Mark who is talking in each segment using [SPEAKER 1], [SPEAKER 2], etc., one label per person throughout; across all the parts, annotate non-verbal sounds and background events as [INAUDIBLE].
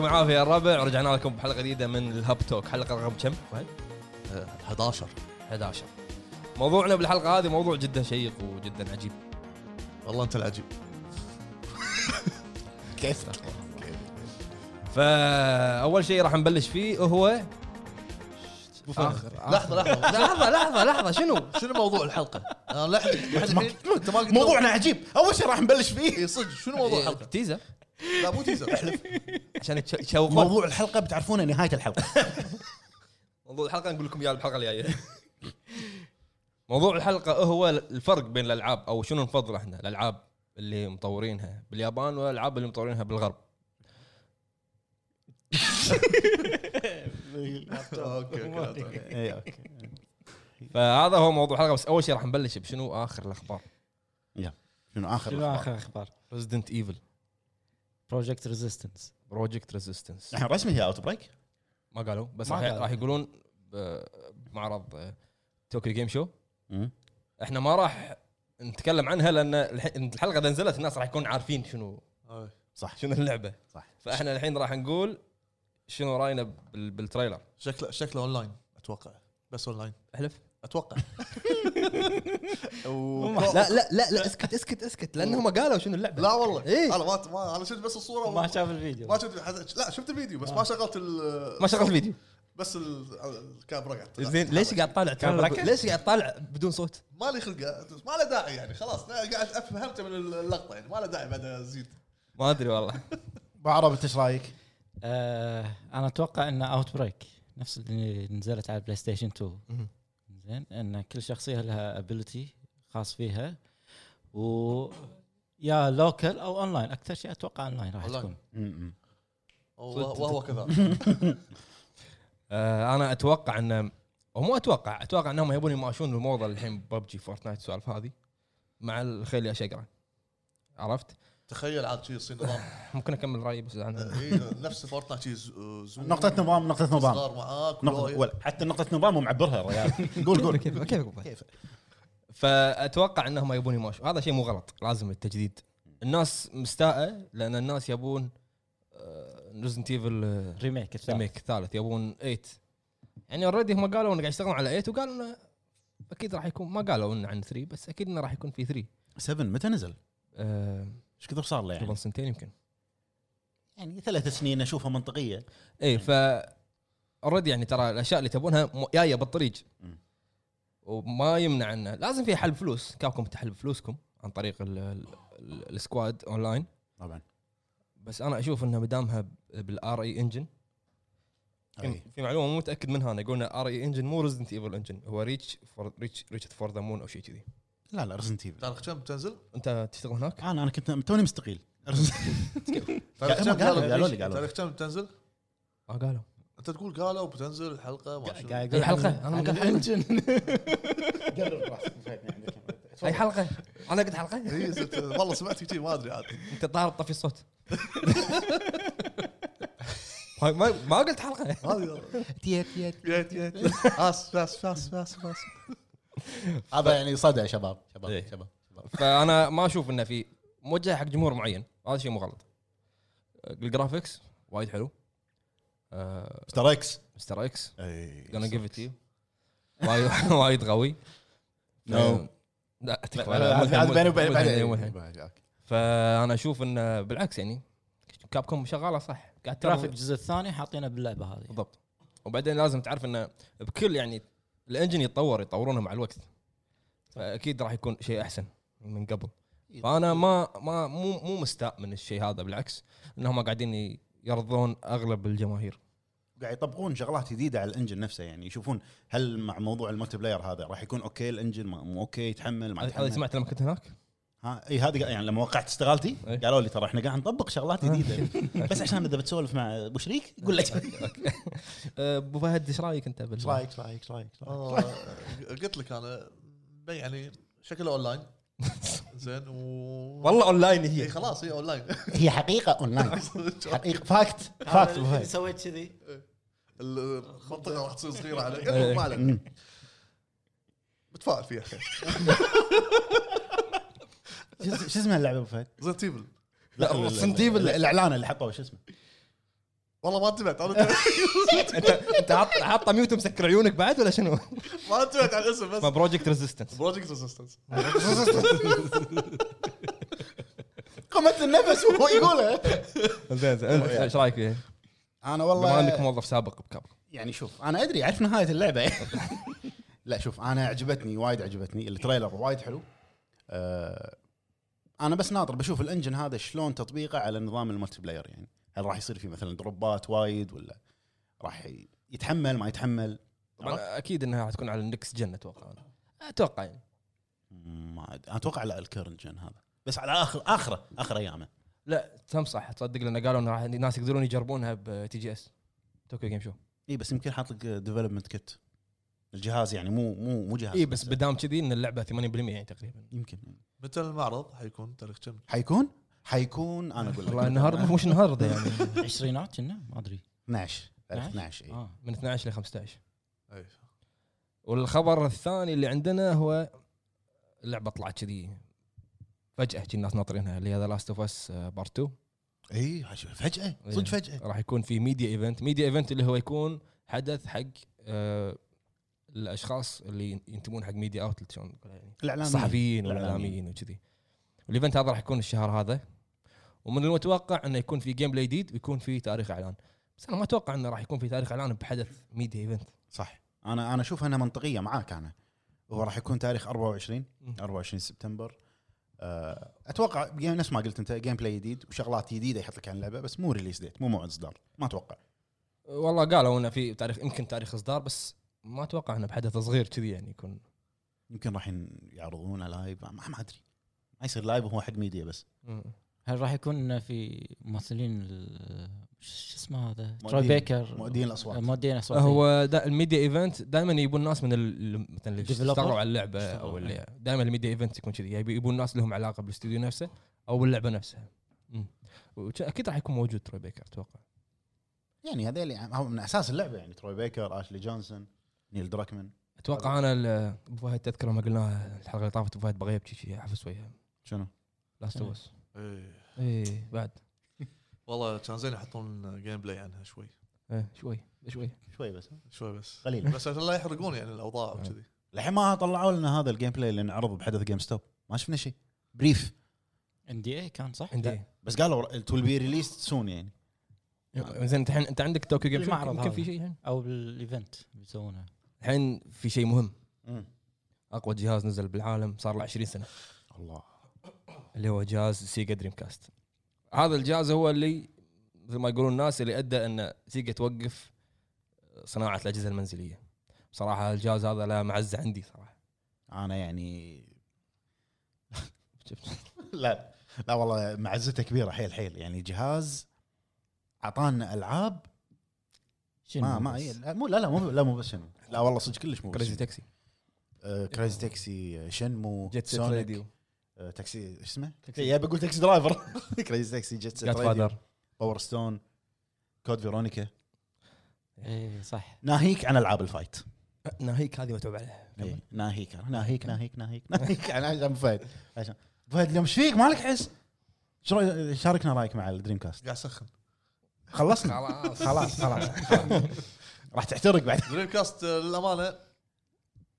[SPEAKER 1] العافيه يا الربع رجعنا لكم بحلقه جديده من الهاب توك حلقه رقم كم؟ بعد؟
[SPEAKER 2] 11
[SPEAKER 1] 11 موضوعنا بالحلقه هذه موضوع جدا شيق وجدا عجيب
[SPEAKER 2] والله انت العجيب كيف
[SPEAKER 1] فاول شيء راح نبلش فيه هو آخر- آخر-
[SPEAKER 2] لحظه لحظه
[SPEAKER 1] لحظه لحظه لحظه [LAUGHS] شنو؟
[SPEAKER 2] شنو موضوع الحلقه؟ أنا لحظه لحظة، انت ما قلت-
[SPEAKER 3] موضوعنا عجيب اول شيء راح نبلش فيه إيه.
[SPEAKER 2] اي صدق شنو موضوع الحلقه؟
[SPEAKER 1] إيه. تيزر
[SPEAKER 2] لا مو تيزر احلف
[SPEAKER 1] عشان [LAUGHS] يتش- يشوقون
[SPEAKER 3] موضوع الحلقه بتعرفونه نهايه الحلقه
[SPEAKER 1] موضوع الحلقه نقول لكم اياه الحلقه الجايه [LAUGHS] موضوع الحلقه هو الفرق بين الالعاب او شنو نفضل احنا الالعاب اللي مطورينها باليابان والالعاب اللي مطورينها بالغرب
[SPEAKER 2] اوكي اوكي
[SPEAKER 3] إي، إيه، أوكي.
[SPEAKER 1] فهذا هو موضوع الحلقه بس اول شيء راح نبلش بشنو اخر الاخبار
[SPEAKER 3] شنو اخر
[SPEAKER 4] شنو
[SPEAKER 3] الأخبار؟
[SPEAKER 4] اخر اخبار؟
[SPEAKER 1] ريزدنت ايفل
[SPEAKER 4] بروجكت ريزيستنس
[SPEAKER 1] بروجكت ريزيستنس
[SPEAKER 3] نحن رسمي هي اوت بريك
[SPEAKER 1] [LAUGHS] ما قالوا بس
[SPEAKER 4] ما
[SPEAKER 1] راح
[SPEAKER 4] قالوا.
[SPEAKER 1] راح يقولون ب- بمعرض آه، توكيو جيم شو احنا ما راح نتكلم عنها لان الح- الحلقه اذا نزلت الناس راح يكون عارفين شنو
[SPEAKER 3] صح
[SPEAKER 1] شنو اللعبه
[SPEAKER 3] صح.
[SPEAKER 1] فاحنا الحين راح نقول شنو راينا بال- بالتريلر
[SPEAKER 2] شكله شكله اونلاين اتوقع بس اونلاين
[SPEAKER 1] احلف
[SPEAKER 3] [LAUGHS]
[SPEAKER 2] اتوقع
[SPEAKER 1] لا لا لا لا اسكت اسكت اسكت لانهم قالوا شنو اللعبه
[SPEAKER 2] لا والله
[SPEAKER 1] إيه؟
[SPEAKER 2] انا ما- ما انا شفت بس الصوره
[SPEAKER 4] ما
[SPEAKER 2] ما
[SPEAKER 4] شاف الفيديو
[SPEAKER 2] شفت حز- لا شفت الفيديو
[SPEAKER 3] آه.
[SPEAKER 2] بس ما شغلت ال
[SPEAKER 1] ما شغلت فيديو
[SPEAKER 2] بس ال- الكاميرا قاعد
[SPEAKER 1] زين ليش قاعد طالع
[SPEAKER 4] كان
[SPEAKER 1] تريلر
[SPEAKER 4] لك؟
[SPEAKER 1] ليش قاعد طالع بدون صوت
[SPEAKER 2] ما لي خلق ما له داعي يعني خلاص أنا قاعد افهمته من اللقطه يعني ما له داعي بعد ازيد
[SPEAKER 1] ما ادري والله
[SPEAKER 3] ابو عرب انت ايش رايك؟
[SPEAKER 4] آه انا اتوقع انه اوت بريك نفس اللي نزلت على البلاي ستيشن 2
[SPEAKER 1] مهم.
[SPEAKER 4] زين ان كل شخصيه لها ابيلتي خاص فيها و يا لوكل او اونلاين اكثر شيء اتوقع اونلاين راح
[SPEAKER 2] أونلاين.
[SPEAKER 4] تكون
[SPEAKER 2] وهو وهو كذا
[SPEAKER 1] آه، انا اتوقع ان او مو اتوقع اتوقع انهم يبون يماشون الموضه الحين ببجي فورتنايت السوالف هذه مع الخيل يا شقره عرفت؟
[SPEAKER 2] تخيل عاد شي يصير نظام
[SPEAKER 1] ممكن اكمل رايي بس عن
[SPEAKER 2] إيه، نفس فورتنايت شي ز- زوم آه،
[SPEAKER 3] نقطة نظام نقطة نظام
[SPEAKER 2] صار معاك
[SPEAKER 3] نقطة
[SPEAKER 2] ولا-
[SPEAKER 3] ولا- حتى نقطة نظام ومعبرها يا [LAUGHS] ريال قول قول
[SPEAKER 1] [LAUGHS] كيف كيف فاتوقع انهم يبون يماشون هذا شيء مو غلط لازم التجديد الناس مستاءه لان الناس يبون آه، ريزنت ايفل
[SPEAKER 4] ريميك الثالث.
[SPEAKER 1] ريميك الثالث آه، يبون 8 يعني اوريدي هم قالوا انه قاعد يشتغلون على 8 وقالوا انه اكيد راح يكون ما قالوا انه عن 3 بس اكيد انه راح يكون في 3
[SPEAKER 3] 7 متى نزل؟
[SPEAKER 1] آه،
[SPEAKER 3] ايش كثر صار له يعني؟
[SPEAKER 1] قبل سنتين يمكن
[SPEAKER 3] يعني ثلاث سنين اشوفها منطقية
[SPEAKER 1] اي إيه، ف اوريدي يعني ترى الاشياء اللي تبونها م- جايه بالطريق
[SPEAKER 3] مم.
[SPEAKER 1] وما يمنع انه لازم في حل فلوس كابكم تحل فلوسكم عن طريق ال- ال- ال- السكواد اونلاين
[SPEAKER 3] طبعا
[SPEAKER 1] بس انا اشوف انها مدامها بالار اي انجن
[SPEAKER 3] أي.
[SPEAKER 1] في معلومه مو متاكد منها انا قلنا ار اي انجن E مو ريزدنت ايفل انجن هو ريتش فور ريتش ريتش فور ذا مون او شيء كذي
[SPEAKER 3] لا لا رزنت ايفل
[SPEAKER 2] تعرف كم تنزل؟
[SPEAKER 1] انت تشتغل هناك؟
[SPEAKER 3] انا انا كنت توني مستقيل [LAUGHS] Resident-
[SPEAKER 2] تعرف
[SPEAKER 3] هم
[SPEAKER 2] كم
[SPEAKER 3] قالوا-
[SPEAKER 2] قالوا-
[SPEAKER 3] قالوا لي- قالوا.
[SPEAKER 2] تعرف كم بتنزل؟
[SPEAKER 1] اه قالوا
[SPEAKER 2] انت تقول قالوا بتنزل الحلقه ما شنو.
[SPEAKER 4] قاعد
[SPEAKER 1] اي
[SPEAKER 4] يقول
[SPEAKER 1] حلقه
[SPEAKER 4] عن-
[SPEAKER 1] انا ما
[SPEAKER 4] عن
[SPEAKER 1] قلت حلقه
[SPEAKER 4] الانجن
[SPEAKER 3] يعني، [LAUGHS]
[SPEAKER 1] اي حلقه انا قلت حلقه
[SPEAKER 2] إيه، زت- والله سمعت كذي ما ادري عاد
[SPEAKER 1] انت الظاهر تطفي الصوت [LAUGHS] ما- ما ما قلت حلقه
[SPEAKER 2] هذه
[SPEAKER 1] تيت تيت
[SPEAKER 2] يا- يا- يا. اسف اسف اسف اسف اسف
[SPEAKER 3] هذا يعني صدى يا شباب شباب
[SPEAKER 1] إيه.
[SPEAKER 3] شباب شباب.
[SPEAKER 1] فانا ما اشوف انه في موجه حق جمهور معين هذا شيء مو غلط الجرافكس وايد حلو آه،
[SPEAKER 3] مستر اكس
[SPEAKER 1] مستر اكس gonna
[SPEAKER 3] اي
[SPEAKER 1] give it to you وايد [LAUGHS] وايد قوي
[SPEAKER 3] No.
[SPEAKER 1] آه، لا تكفى لا، مو الحين،
[SPEAKER 3] هذا
[SPEAKER 1] مو
[SPEAKER 3] بعدين
[SPEAKER 1] الحين، مو الحين.
[SPEAKER 3] بعدين
[SPEAKER 1] فانا اشوف انه بالعكس يعني كابكوم شغاله صح قاعد ترى
[SPEAKER 4] جرافيك الجزء الثاني حاطينه باللعبه هذه
[SPEAKER 1] بالضبط وبعدين لازم تعرف انه بكل يعني الانجن يتطور يطورونه مع الوقت فاكيد راح يكون شيء احسن من قبل فانا ما ما مو مو مستاء من الشيء هذا بالعكس انهم قاعدين ي- يرضون اغلب الجماهير
[SPEAKER 3] قاعد يطبقون شغلات جديده على الانجن نفسه يعني يشوفون هل مع موضوع الملتي بلاير هذا راح يكون اوكي الانجن ما- مو اوكي يتحمل ما
[SPEAKER 1] هذا
[SPEAKER 3] يتحمل
[SPEAKER 1] سمعت لما كنت هناك
[SPEAKER 3] ها اي هذا قا- يعني لما وقعت استقالتي
[SPEAKER 1] إيه.
[SPEAKER 3] قالوا لي ترى احنا قاعد نطبق شغلات جديده
[SPEAKER 1] [LAUGHS]
[SPEAKER 3] بس عشان اذا بتسولف مع ابو شريك قول لك
[SPEAKER 1] أه، ابو فهد ايش رايك انت بال-
[SPEAKER 3] ايش رايك ايش رايك ايش رايك
[SPEAKER 2] آه، قلت لك انا بي- يعني شكله اونلاين زين و
[SPEAKER 1] والله اونلاين
[SPEAKER 2] اي
[SPEAKER 1] هي [LAUGHS]
[SPEAKER 2] خلاص هي اونلاين
[SPEAKER 4] [LAUGHS]
[SPEAKER 3] هي حقيقه [LAUGHS] اونلاين حقيقه فاكت فاكت
[SPEAKER 4] هذا اللي
[SPEAKER 3] [LAUGHS]
[SPEAKER 4] سويت كذي
[SPEAKER 2] المنطقه راح تصير صغيره على المهم ما عليك متفائل فيها
[SPEAKER 3] شو اسمها اللعبه ابو فهد؟
[SPEAKER 2] زين تيبل
[SPEAKER 3] لا
[SPEAKER 1] الصنديق
[SPEAKER 3] الصنديق الاعلان اللي حطوه شو اسمه؟
[SPEAKER 2] والله ما انتبهت انا انتبهت.
[SPEAKER 1] انت انت حاط- حاطه ميوت مسكر عيونك بعد ولا شنو؟
[SPEAKER 2] [LAUGHS] ما انتبهت على الاسم
[SPEAKER 1] [LAUGHS] ما
[SPEAKER 2] بس
[SPEAKER 1] بروجكت ريزيستنس
[SPEAKER 2] بروجكت ريزيستنس
[SPEAKER 3] قمت النفس وهو يقولها
[SPEAKER 1] [LAUGHS] زين زين ايش رايك فيها؟
[SPEAKER 3] انا
[SPEAKER 1] بما عندك
[SPEAKER 3] والله
[SPEAKER 1] موظف سابق بكابر
[SPEAKER 3] يعني شوف انا ادري اعرف نهايه [LAUGHS] اللعبه لا شوف انا عجبتني وايد عجبتني التريلر وايد حلو آه، انا بس ناطر بشوف الانجن هذا شلون تطبيقه على نظام الملتي بلاير يعني هل راح يصير في مثلا دروبات وايد ولا راح يتحمل ما يتحمل
[SPEAKER 1] طبعا اكيد انها راح تكون على النكس جن اتوقع انا اتوقع يعني
[SPEAKER 3] ما أدري. اتوقع على الكيرن جن هذا بس على اخر اخره اخر ايامه
[SPEAKER 1] لا تم صح تصدق لان قالوا انه راح الناس يقدرون يجربونها بتي جي اس طوكيو جيم شو
[SPEAKER 3] اي بس يمكن حاط لك ديفلوبمنت كيت الجهاز يعني مو مو مو جهاز
[SPEAKER 1] اي بس بدام كذي ان اللعبه 80% يعني تقريبا
[SPEAKER 3] يمكن
[SPEAKER 2] متى المعرض حيكون تاريخ كم؟
[SPEAKER 3] حيكون حيكون
[SPEAKER 1] [LAUGHS]
[SPEAKER 3] انا اقول لك
[SPEAKER 1] والله النهارده مش النهارده يعني
[SPEAKER 4] عشرينات كنا ما ادري
[SPEAKER 3] 12 تاريخ 12 اي
[SPEAKER 4] اه
[SPEAKER 1] من 12 ل 15
[SPEAKER 2] اي
[SPEAKER 1] والخبر الثاني اللي عندنا هو اللعبه طلعت كذي فجاه كذي الناس ناطرينها اللي هي ذا لاست اوف اس بارت 2
[SPEAKER 3] اي عش- فجاه
[SPEAKER 1] إيه.
[SPEAKER 3] صدق فجاه
[SPEAKER 1] آه، راح يكون في ميديا ايفنت ميديا ايفنت اللي هو يكون حدث حق آه، الاشخاص اللي ينتمون حق ميديا اوتلت شلون نقولها يعني
[SPEAKER 3] الاعلام
[SPEAKER 1] الصحفيين
[SPEAKER 3] الإعلاميين.
[SPEAKER 1] والاعلاميين وكذي الايفنت هذا راح يكون الشهر هذا ومن المتوقع انه يكون في جيم بلاي جديد ويكون في تاريخ اعلان بس انا ما اتوقع انه راح يكون في تاريخ اعلان بحدث ميديا ايفنت
[SPEAKER 3] صح انا انا اشوف انها منطقيه معاك انا هو راح يكون تاريخ 24
[SPEAKER 1] مم.
[SPEAKER 3] 24 سبتمبر آه، اتوقع جيم- نفس ما قلت انت جيم بلاي جديد وشغلات جديده يحط لك عن اللعبه بس مو ريليس ديت مو موعد اصدار ما اتوقع
[SPEAKER 1] والله قالوا انه في تاريخ يمكن تاريخ اصدار بس ما اتوقع انه بحدث صغير كذي يعني يكون
[SPEAKER 3] يمكن راح ين- يعرضونه لايف ما ما ادري ما يصير لايف وهو حق ميديا بس
[SPEAKER 1] مم.
[SPEAKER 4] هل راح يكون في ممثلين ال- شو اسمه هذا تروي
[SPEAKER 3] مؤدين-
[SPEAKER 4] بيكر
[SPEAKER 3] مؤددين الأصوات.
[SPEAKER 4] آه، مؤددين الاصوات
[SPEAKER 1] طيب. هو دا الميديا ايفنت دائما يبون ناس من ال- مثلا اللي
[SPEAKER 4] Developer.
[SPEAKER 1] اشتغلوا على اللعبه
[SPEAKER 4] اشتغلوا،
[SPEAKER 1] او اللي
[SPEAKER 4] إيه.
[SPEAKER 1] دائما الميديا ايفنت يكون كذي يبي- يبون ناس لهم علاقه بالاستوديو نفسه او باللعبه نفسها مم. وش- اكيد راح يكون موجود تروي بيكر اتوقع
[SPEAKER 3] يعني هذول يعني هو من اساس اللعبه يعني تروي بيكر اشلي جونسون نيل دراكمان
[SPEAKER 1] اتوقع انا ال- ابو فهد تذكر ما قلناها الحلقه اللي طافت ابو فهد بغيب شي حفص وياه
[SPEAKER 3] شنو؟
[SPEAKER 1] لاست اوف
[SPEAKER 4] إيه.
[SPEAKER 1] اس اي
[SPEAKER 2] اي
[SPEAKER 1] إيه، بعد
[SPEAKER 2] والله كان زين يحطون جيم بلاي عنها شوي
[SPEAKER 1] إيه، شوي شوي
[SPEAKER 3] شوي بس
[SPEAKER 2] شوي بس
[SPEAKER 3] قليل
[SPEAKER 2] [LAUGHS] بس عشان لا يحرقون يعني الاوضاع وكذي
[SPEAKER 1] آه.
[SPEAKER 3] الحين ما طلعوا لنا هذا الجيم بلاي اللي انعرض بحدث جيم ستوب ما شفنا شيء بريف
[SPEAKER 4] ان دي اي كان صح؟
[SPEAKER 1] عندي
[SPEAKER 3] بس قالوا ال- it will be released soon يعني
[SPEAKER 1] زين انت الحين انت عندك طوكيو جيم شو
[SPEAKER 4] المعرض
[SPEAKER 1] يمكن في
[SPEAKER 4] هذا.
[SPEAKER 1] شيء الحين
[SPEAKER 4] او بالايفنت بيسوونه
[SPEAKER 1] الحين في شيء مهم
[SPEAKER 3] مم.
[SPEAKER 1] اقوى جهاز نزل بالعالم صار له 20 سنه
[SPEAKER 3] الله
[SPEAKER 1] اللي هو جهاز سيجا دريم كاست هذا الجهاز هو اللي مثل ما يقولون الناس اللي ادى ان سيجا توقف صناعه الاجهزه المنزليه بصراحه الجهاز هذا لا معزه عندي صراحه
[SPEAKER 3] انا يعني [LAUGHS] لا لا والله معزته كبيره حيل حيل يعني جهاز اعطانا العاب
[SPEAKER 4] شنو
[SPEAKER 3] ما ما
[SPEAKER 4] بس؟
[SPEAKER 3] إيه، لا مو لا لا مو لا مو بس شنو لا والله صدق كلش مو آه،
[SPEAKER 1] كريزي تاكسي
[SPEAKER 3] كريزي تاكسي شنمو
[SPEAKER 1] جيت سيت
[SPEAKER 3] سونيك،
[SPEAKER 1] راديو
[SPEAKER 3] آه، تاكسي شو اسمه؟ يا بقول تاكسي درايفر [LAUGHS] كريزي تاكسي جيت سيت
[SPEAKER 1] جاد
[SPEAKER 3] راديو،
[SPEAKER 1] فادر
[SPEAKER 3] باور ستون كود فيرونيكا
[SPEAKER 4] اي إيه، صح
[SPEAKER 3] ناهيك عن العاب الفايت
[SPEAKER 1] أه، ناهيك هذه متعوب عليها
[SPEAKER 3] إيه، ناهيك أنا، ناهيك ناهيك ناهيك [LAUGHS] ناهيك انا عشان أبو فهد عشان أبو فهد اليوم ايش فيك مالك حس شو رأي- شاركنا رايك مع الدريم كاست
[SPEAKER 2] قاعد اسخن
[SPEAKER 3] خلصنا
[SPEAKER 1] خلاص
[SPEAKER 3] خلاص خلاص خلاص. راح تحترق بعد
[SPEAKER 2] دريم كاست آه، للامانه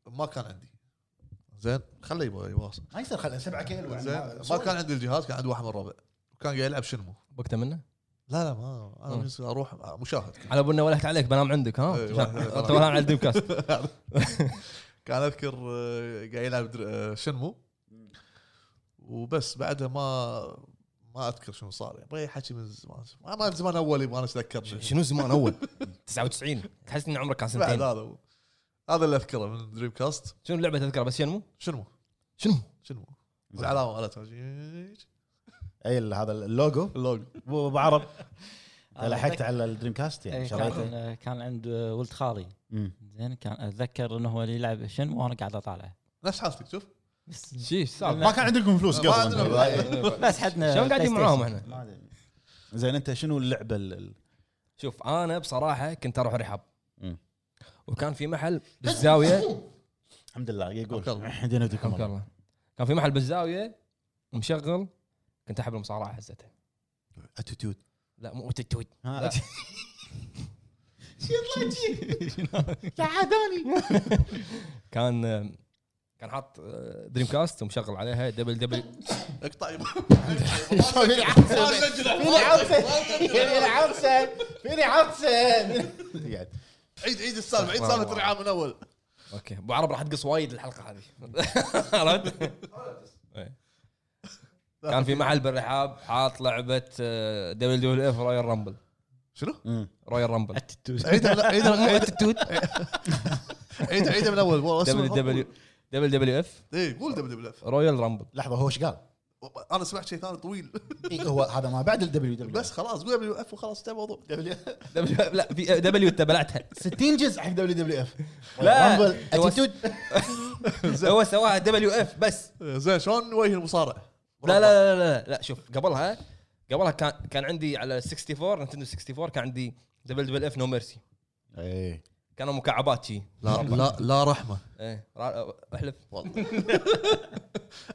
[SPEAKER 2] ما كان عندي زين خليه يبا- يواصل
[SPEAKER 3] ما يصير خلي سبعة كيلو يعني
[SPEAKER 2] زين ما كان عندي الجهاز كان عندي واحد من الربع وكان قاعد يلعب شنمو
[SPEAKER 1] وقته منه
[SPEAKER 2] لا لا ما انا
[SPEAKER 1] مم.
[SPEAKER 2] بالنسبة اروح آه،
[SPEAKER 1] [LAUGHS]
[SPEAKER 2] مشاهد كنت.
[SPEAKER 1] على بنا ولحت عليك بنام عندك ها
[SPEAKER 2] إيه، واحد-
[SPEAKER 1] انت بنام على دريم كاست
[SPEAKER 2] [LAUGHS] كان اذكر آه، قاعد يلعب در- آه، شنمو وبس بعدها ما ما اذكر شنو صار يعني بغي حكي من زمان ما ما زمان اول يبغى انا اتذكر
[SPEAKER 1] شنو زمان اول 99 تحس ان عمرك كان
[SPEAKER 2] بعد
[SPEAKER 1] سنتين
[SPEAKER 2] هذا هو. هذا اللي اذكره من دريم كاست
[SPEAKER 1] شنو اللعبه تذكرها بس شنو
[SPEAKER 2] شنمو
[SPEAKER 1] شنو
[SPEAKER 2] شنمو زعلان على تاج
[SPEAKER 3] اي إيه، ال- هذا اللوجو
[SPEAKER 2] اللوجو
[SPEAKER 3] ابو أبو عرب [LAUGHS]
[SPEAKER 4] آه،
[SPEAKER 3] لحقت
[SPEAKER 4] أتذكر-
[SPEAKER 3] على الدريم كاست يعني
[SPEAKER 4] إيه،
[SPEAKER 3] شريته
[SPEAKER 4] كان كان عند آه، ولد خالي
[SPEAKER 3] مم.
[SPEAKER 4] زين كان اتذكر انه هو اللي يلعب شنو وانا قاعد اطالعه
[SPEAKER 2] نفس حالتك شوف
[SPEAKER 1] [LAUGHS]
[SPEAKER 4] بس
[SPEAKER 1] شيش صعب
[SPEAKER 3] ما كان عندكم فلوس
[SPEAKER 2] ما عندنا
[SPEAKER 3] قبل
[SPEAKER 4] بس حدنا
[SPEAKER 1] شلون قاعدين
[SPEAKER 4] بلاي
[SPEAKER 1] معاهم
[SPEAKER 4] ستيشن.
[SPEAKER 1] احنا
[SPEAKER 3] ما أدري. زين انت شنو اللعبه ال- ال-
[SPEAKER 1] شوف انا بصراحه كنت اروح رحاب
[SPEAKER 3] مم.
[SPEAKER 1] وكان في محل بالزاويه
[SPEAKER 3] الحمد لله
[SPEAKER 2] حمك
[SPEAKER 3] يقول [LAUGHS]
[SPEAKER 2] الله.
[SPEAKER 3] حدينا ودكم
[SPEAKER 1] حمك
[SPEAKER 3] الله.
[SPEAKER 1] الله كان في محل بالزاويه مشغل كنت احب المصارعه حزتها
[SPEAKER 3] اتيتيود [LAUGHS]
[SPEAKER 1] لا مو تتويت
[SPEAKER 3] ها،
[SPEAKER 1] [LAUGHS]
[SPEAKER 3] سعدوني
[SPEAKER 1] كان كان حاط آه، دريم كاست ومشغل عليها دبل دبل
[SPEAKER 2] اقطع [LAUGHS] يمه.
[SPEAKER 3] فيني
[SPEAKER 2] ما
[SPEAKER 3] عطسه
[SPEAKER 2] أسجله.
[SPEAKER 3] فيني عطسه فيني عطسه فيني عطسه قاعد
[SPEAKER 2] عيد عيد السالفه عيد سالفه الرعاه من اول
[SPEAKER 1] اوكي ابو عرب راح تقص وايد الحلقه هذه [LAUGHS] عرفت؟ إيه. كان في محل بالرحاب حاط لعبه آه، دبل دبل اف رويال رامبل
[SPEAKER 2] شنو؟
[SPEAKER 1] رويال رامبل
[SPEAKER 3] إيه،
[SPEAKER 2] عيدها من
[SPEAKER 1] [LAUGHS]
[SPEAKER 2] عيدها من عيدها عيدها من اول والله اسمه-
[SPEAKER 1] دبل دبل دبل دبليو اف
[SPEAKER 2] اي قول دبليو دبليو اف
[SPEAKER 1] رويال رامبل
[SPEAKER 3] لحظه هو ايش قال؟
[SPEAKER 2] انا سمعت شيء ثاني
[SPEAKER 1] [LAUGHS]
[SPEAKER 2] طويل
[SPEAKER 3] إيه، هو هذا ما بعد الدبليو دبليو
[SPEAKER 2] بس خلاص قول دبليو اف وخلاص انتهى الموضوع
[SPEAKER 1] دبليو لا في آه، دبليو تبلعتها
[SPEAKER 3] 60 جزء حق دبليو دبليو [LAUGHS] اف
[SPEAKER 1] لا. هو-
[SPEAKER 3] اتيتود
[SPEAKER 1] هو سواها دبليو اف بس
[SPEAKER 2] إيه، زين شلون وجه المصارع؟
[SPEAKER 1] لا لا لا لا لا, لا شوف قبلها قبلها كان كان عندي على 64 نتندو 64 كان عندي دبل دبل اف نو ميرسي
[SPEAKER 3] ايه
[SPEAKER 1] كانوا مكعبات شي
[SPEAKER 2] لا لا لا رحمه
[SPEAKER 1] ايه را- احلف
[SPEAKER 2] [LAUGHS]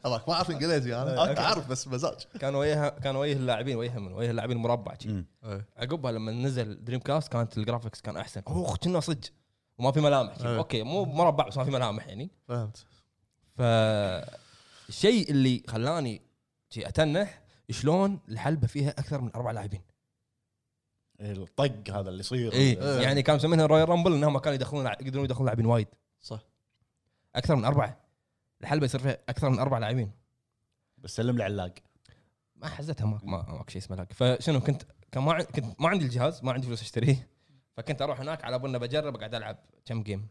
[SPEAKER 2] الله ما اعرف انجليزي
[SPEAKER 1] إيه،
[SPEAKER 2] انا انا اعرف بس مزاج
[SPEAKER 1] كان وياها كان ويه اللاعبين وياها من وياه اللاعبين مربع شي
[SPEAKER 3] مم.
[SPEAKER 2] إيه.
[SPEAKER 1] عقبها لما نزل دريم كاست كانت الجرافكس كان احسن اوه كنا صدق وما في ملامح شي.
[SPEAKER 2] إيه.
[SPEAKER 1] اوكي مو مربع بس ما في ملامح يعني
[SPEAKER 2] فهمت
[SPEAKER 1] ف الشيء اللي خلاني شي اتنح شلون الحلبه فيها اكثر من اربع لاعبين
[SPEAKER 3] الطق هذا اللي يصير
[SPEAKER 1] اي يعني كانوا مسمينها رويال رامبل انهم كانوا يدخلون يقدرون يدخلون لاعبين وايد
[SPEAKER 2] صح.
[SPEAKER 1] اكثر من اربعه الحلبه يصير فيها اكثر من اربع لاعبين
[SPEAKER 3] بس سلم العلاق
[SPEAKER 1] ما حزتها ما ما ماك شيء اسمه لاك فشنو كنت كان ما عن- كنت ما عندي الجهاز ما عندي فلوس اشتريه فكنت اروح هناك على بنا بجرب قاعد العب كم جيم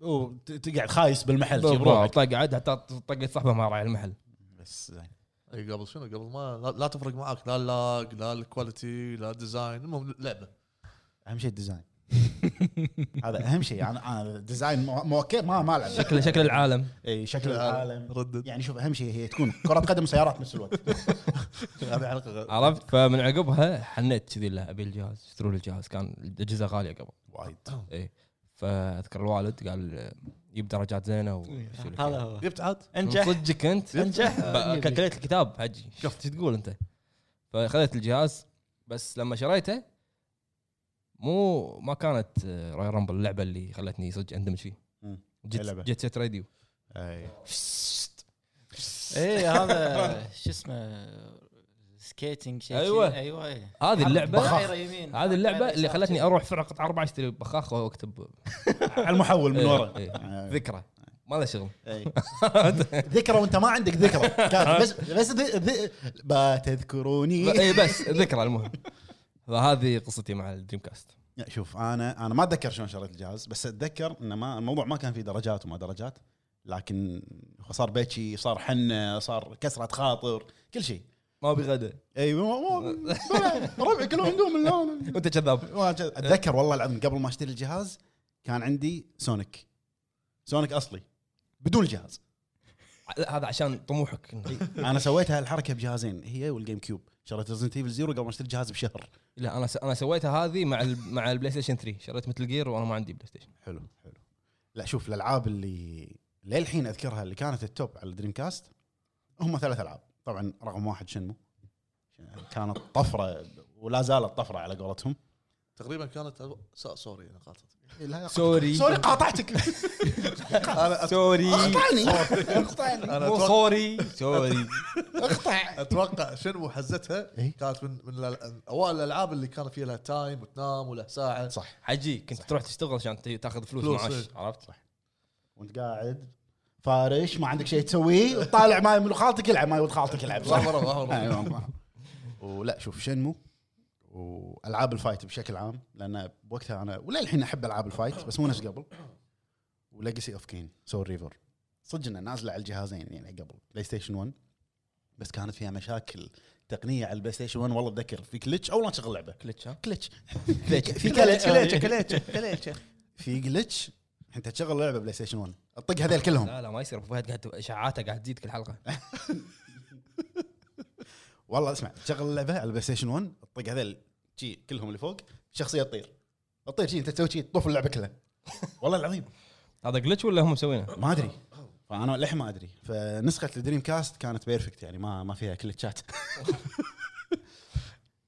[SPEAKER 3] وتقعد خايس بالمحل شي بروحك.
[SPEAKER 1] بالضبط قاعد حتى طقت صاحبه ما راعي المحل
[SPEAKER 3] بس زين.
[SPEAKER 2] اي قبل شنو قبل ما لا, لا تفرق معاك لا اللاج لا الكواليتي لا الديزاين المهم لعبه
[SPEAKER 3] اهم شيء [LAUGHS] الديزاين هذا اهم شيء انا انا الديزاين مو مو اوكي ما ما العب
[SPEAKER 1] شكل شكل العالم
[SPEAKER 3] اي شكل العالم
[SPEAKER 2] ردد
[SPEAKER 3] يعني شوف اهم شيء هي تكون كره قدم وسيارات نفس الوقت [LAUGHS]
[SPEAKER 2] هذه حلقه غير
[SPEAKER 1] عرفت فمن عقبها حنيت كذي له ابي الجهاز اشتروا لي الجهاز كان الاجهزه غاليه قبل
[SPEAKER 3] وايد
[SPEAKER 1] فاذكر الوالد قال يجيب درجات زينه ويسوي لك
[SPEAKER 4] [LAUGHS] هذا
[SPEAKER 2] [CLEARS THROAT]
[SPEAKER 4] هو آه،
[SPEAKER 2] جبت عاد
[SPEAKER 4] انجح
[SPEAKER 1] [LAUGHS] صدقك انت
[SPEAKER 4] انجح
[SPEAKER 1] ب-
[SPEAKER 4] نبي.
[SPEAKER 1] ك- كليت الكتاب حجي شو تقول انت فاخذت الجهاز بس لما شريته مو ما كانت آه، راي رامبل اللعبه اللي خلتني صدق اندمج فيه
[SPEAKER 3] مم.
[SPEAKER 1] جيت
[SPEAKER 3] اللعبة.
[SPEAKER 1] جيت سيت راديو
[SPEAKER 3] اي
[SPEAKER 4] اي إيه، هذا شو اسمه سكيتنج شيء
[SPEAKER 1] أيوة.
[SPEAKER 4] شي. ايوه ايوه
[SPEAKER 1] هذه اللعبه
[SPEAKER 4] دائرة يمين
[SPEAKER 1] هذه اللعبه
[SPEAKER 4] دائرة
[SPEAKER 1] اللي
[SPEAKER 4] يسار.
[SPEAKER 1] خلتني اروح فرع قطعه اربعه اشتري بخاخ واكتب
[SPEAKER 3] على المحول من
[SPEAKER 1] إيه،
[SPEAKER 3] ورا
[SPEAKER 1] إيه.
[SPEAKER 3] أي.
[SPEAKER 1] ذكرى ما لها شغل
[SPEAKER 3] إي. [LAUGHS] ذكرى وانت ما عندك ذكرى كانت بس بس ذ- ذ- بتذكروني
[SPEAKER 1] اي إيه، بس ذكرى المهم فهذه قصتي مع الدريم كاست
[SPEAKER 3] لا، شوف انا انا ما اتذكر شلون شريت الجهاز بس اتذكر انه ما الموضوع ما كان فيه درجات وما درجات لكن هو صار بكي صار حنه صار كسره خاطر كل شيء إيه،
[SPEAKER 1] ما ابي غدا
[SPEAKER 3] اي ما- ما- ربعي كلهم دوم من هنا.
[SPEAKER 1] وانت كذاب
[SPEAKER 3] ما أت- اتذكر والله العظيم قبل ما اشتري الجهاز كان عندي سونيك سونيك اصلي بدون الجهاز
[SPEAKER 1] لا، هذا عشان طموحك
[SPEAKER 3] انا سويت هالحركه بجهازين هي والجيم كيوب شريت ريزنت ايفل زيرو قبل ما اشتري الجهاز بشهر
[SPEAKER 1] لا انا س... انا سويتها هذه مع ال... مع البلاي ستيشن 3 شريت مثل جير وانا ما عندي بلاي ستيشن
[SPEAKER 3] حلو حلو لا شوف الالعاب اللي للحين اذكرها اللي كانت التوب على الدريم كاست هم ثلاث العاب طبعا رقم واحد شنمو كانت طفره ولا زالت طفره على قولتهم
[SPEAKER 2] تقريبا كانت أب- س- سوري انا قاطعت
[SPEAKER 1] سوري
[SPEAKER 3] إيه، سوري قاطعتك
[SPEAKER 2] انا أت-
[SPEAKER 1] سوري
[SPEAKER 3] [LAUGHS] اقطعني
[SPEAKER 2] انا
[SPEAKER 1] مو
[SPEAKER 2] أتوقع-
[SPEAKER 1] سوري سوري
[SPEAKER 2] اتوقع شنو حزتها
[SPEAKER 3] إيه.
[SPEAKER 2] كانت من من الأل- اوائل الالعاب اللي كان فيها لها تايم وتنام ولا ساعه
[SPEAKER 3] صح
[SPEAKER 1] حجي كنت تروح تشتغل عشان ت- تاخذ فلوس
[SPEAKER 2] فلوس،
[SPEAKER 1] معاش عرفت
[SPEAKER 3] وانت قاعد فارش ما عندك شيء تسويه وطالع ماي من خالتك العب ماي ولد خالتك العب صح؟
[SPEAKER 2] رهبة- رهبة- رهبة.
[SPEAKER 3] أيوة، والله. ولا شوف شنمو والعاب الفايت بشكل عام لان بوقتها انا وللحين احب العاب الفايت بس مو نفس قبل وليجسي اوف كين سول ريفر صدق انها نازله على الجهازين يعني قبل بلاي ستيشن 1 بس كانت فيها مشاكل تقنيه على البلاي ستيشن 1 والله اتذكر في كلتش اول ما تشغل لعبه
[SPEAKER 1] كلتش ها
[SPEAKER 3] كلتش
[SPEAKER 1] كلتش
[SPEAKER 3] في كلتش كلتش
[SPEAKER 2] كليتشه كليتشه
[SPEAKER 3] في جلتش انت تشغل لعبه بلاي ستيشن 1 اطق هذيل كلهم
[SPEAKER 1] لا لا ما يصير ابو فهد قاعد اشاعاته قاعد تزيد كل حلقه
[SPEAKER 3] والله اسمع تشغل اللعبه على البلاي ستيشن 1 تطق هذول شي كلهم اللي فوق شخصيه تطير تطير شي انت تسوي شي تطوف اللعبه كلها والله العظيم
[SPEAKER 1] هذا جلتش ولا هم مسوينه؟
[SPEAKER 3] ما ادري فانا للحين ما ادري فنسخه الدريم كاست كانت بيرفكت يعني ما ما فيها كل تشات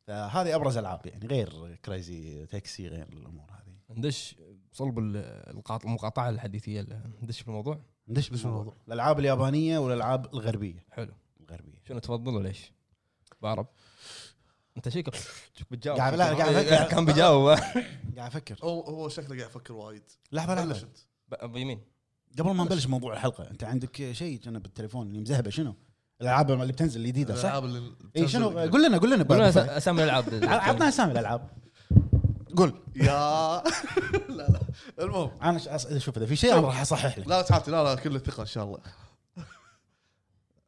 [SPEAKER 3] فهذه ابرز العاب يعني غير كريزي تاكسي غير الامور هذه
[SPEAKER 1] ندش صلب ال- القاط- المقاطعه الحديثيه اللي- ندش بالموضوع
[SPEAKER 3] ندش بالموضوع الالعاب اليابانيه والالعاب الغربيه
[SPEAKER 1] حلو
[SPEAKER 3] الغربيه
[SPEAKER 1] شنو تفضل وليش؟ بعرب انت شيك بتجاوب
[SPEAKER 3] قاعد- لا، قاعد أفكر.
[SPEAKER 1] كان بيجاوب
[SPEAKER 3] قاعد افكر
[SPEAKER 2] هو هو شكله قاعد يفكر وايد
[SPEAKER 3] لحظه
[SPEAKER 2] بلش
[SPEAKER 3] لحظه
[SPEAKER 2] انت
[SPEAKER 1] ب- بيمين
[SPEAKER 3] قبل ما نبلش موضوع الحلقه انت عندك شيء كنا بالتليفون اللي مذهبه شنو؟ الالعاب اللي بتنزل الجديده إيه، صح؟
[SPEAKER 2] الالعاب اللي
[SPEAKER 3] اي شنو قول لنا قول لنا
[SPEAKER 1] قول لنا
[SPEAKER 3] بعد.
[SPEAKER 1] أس- اسامي الالعاب
[SPEAKER 3] عطنا اسامي الالعاب قول
[SPEAKER 2] يا [LAUGHS] لا لا المهم
[SPEAKER 3] انا ش- أص- شوف اذا في شيء انا راح اصحح لك
[SPEAKER 2] لا تعاتي لا لا كل الثقه ان شاء الله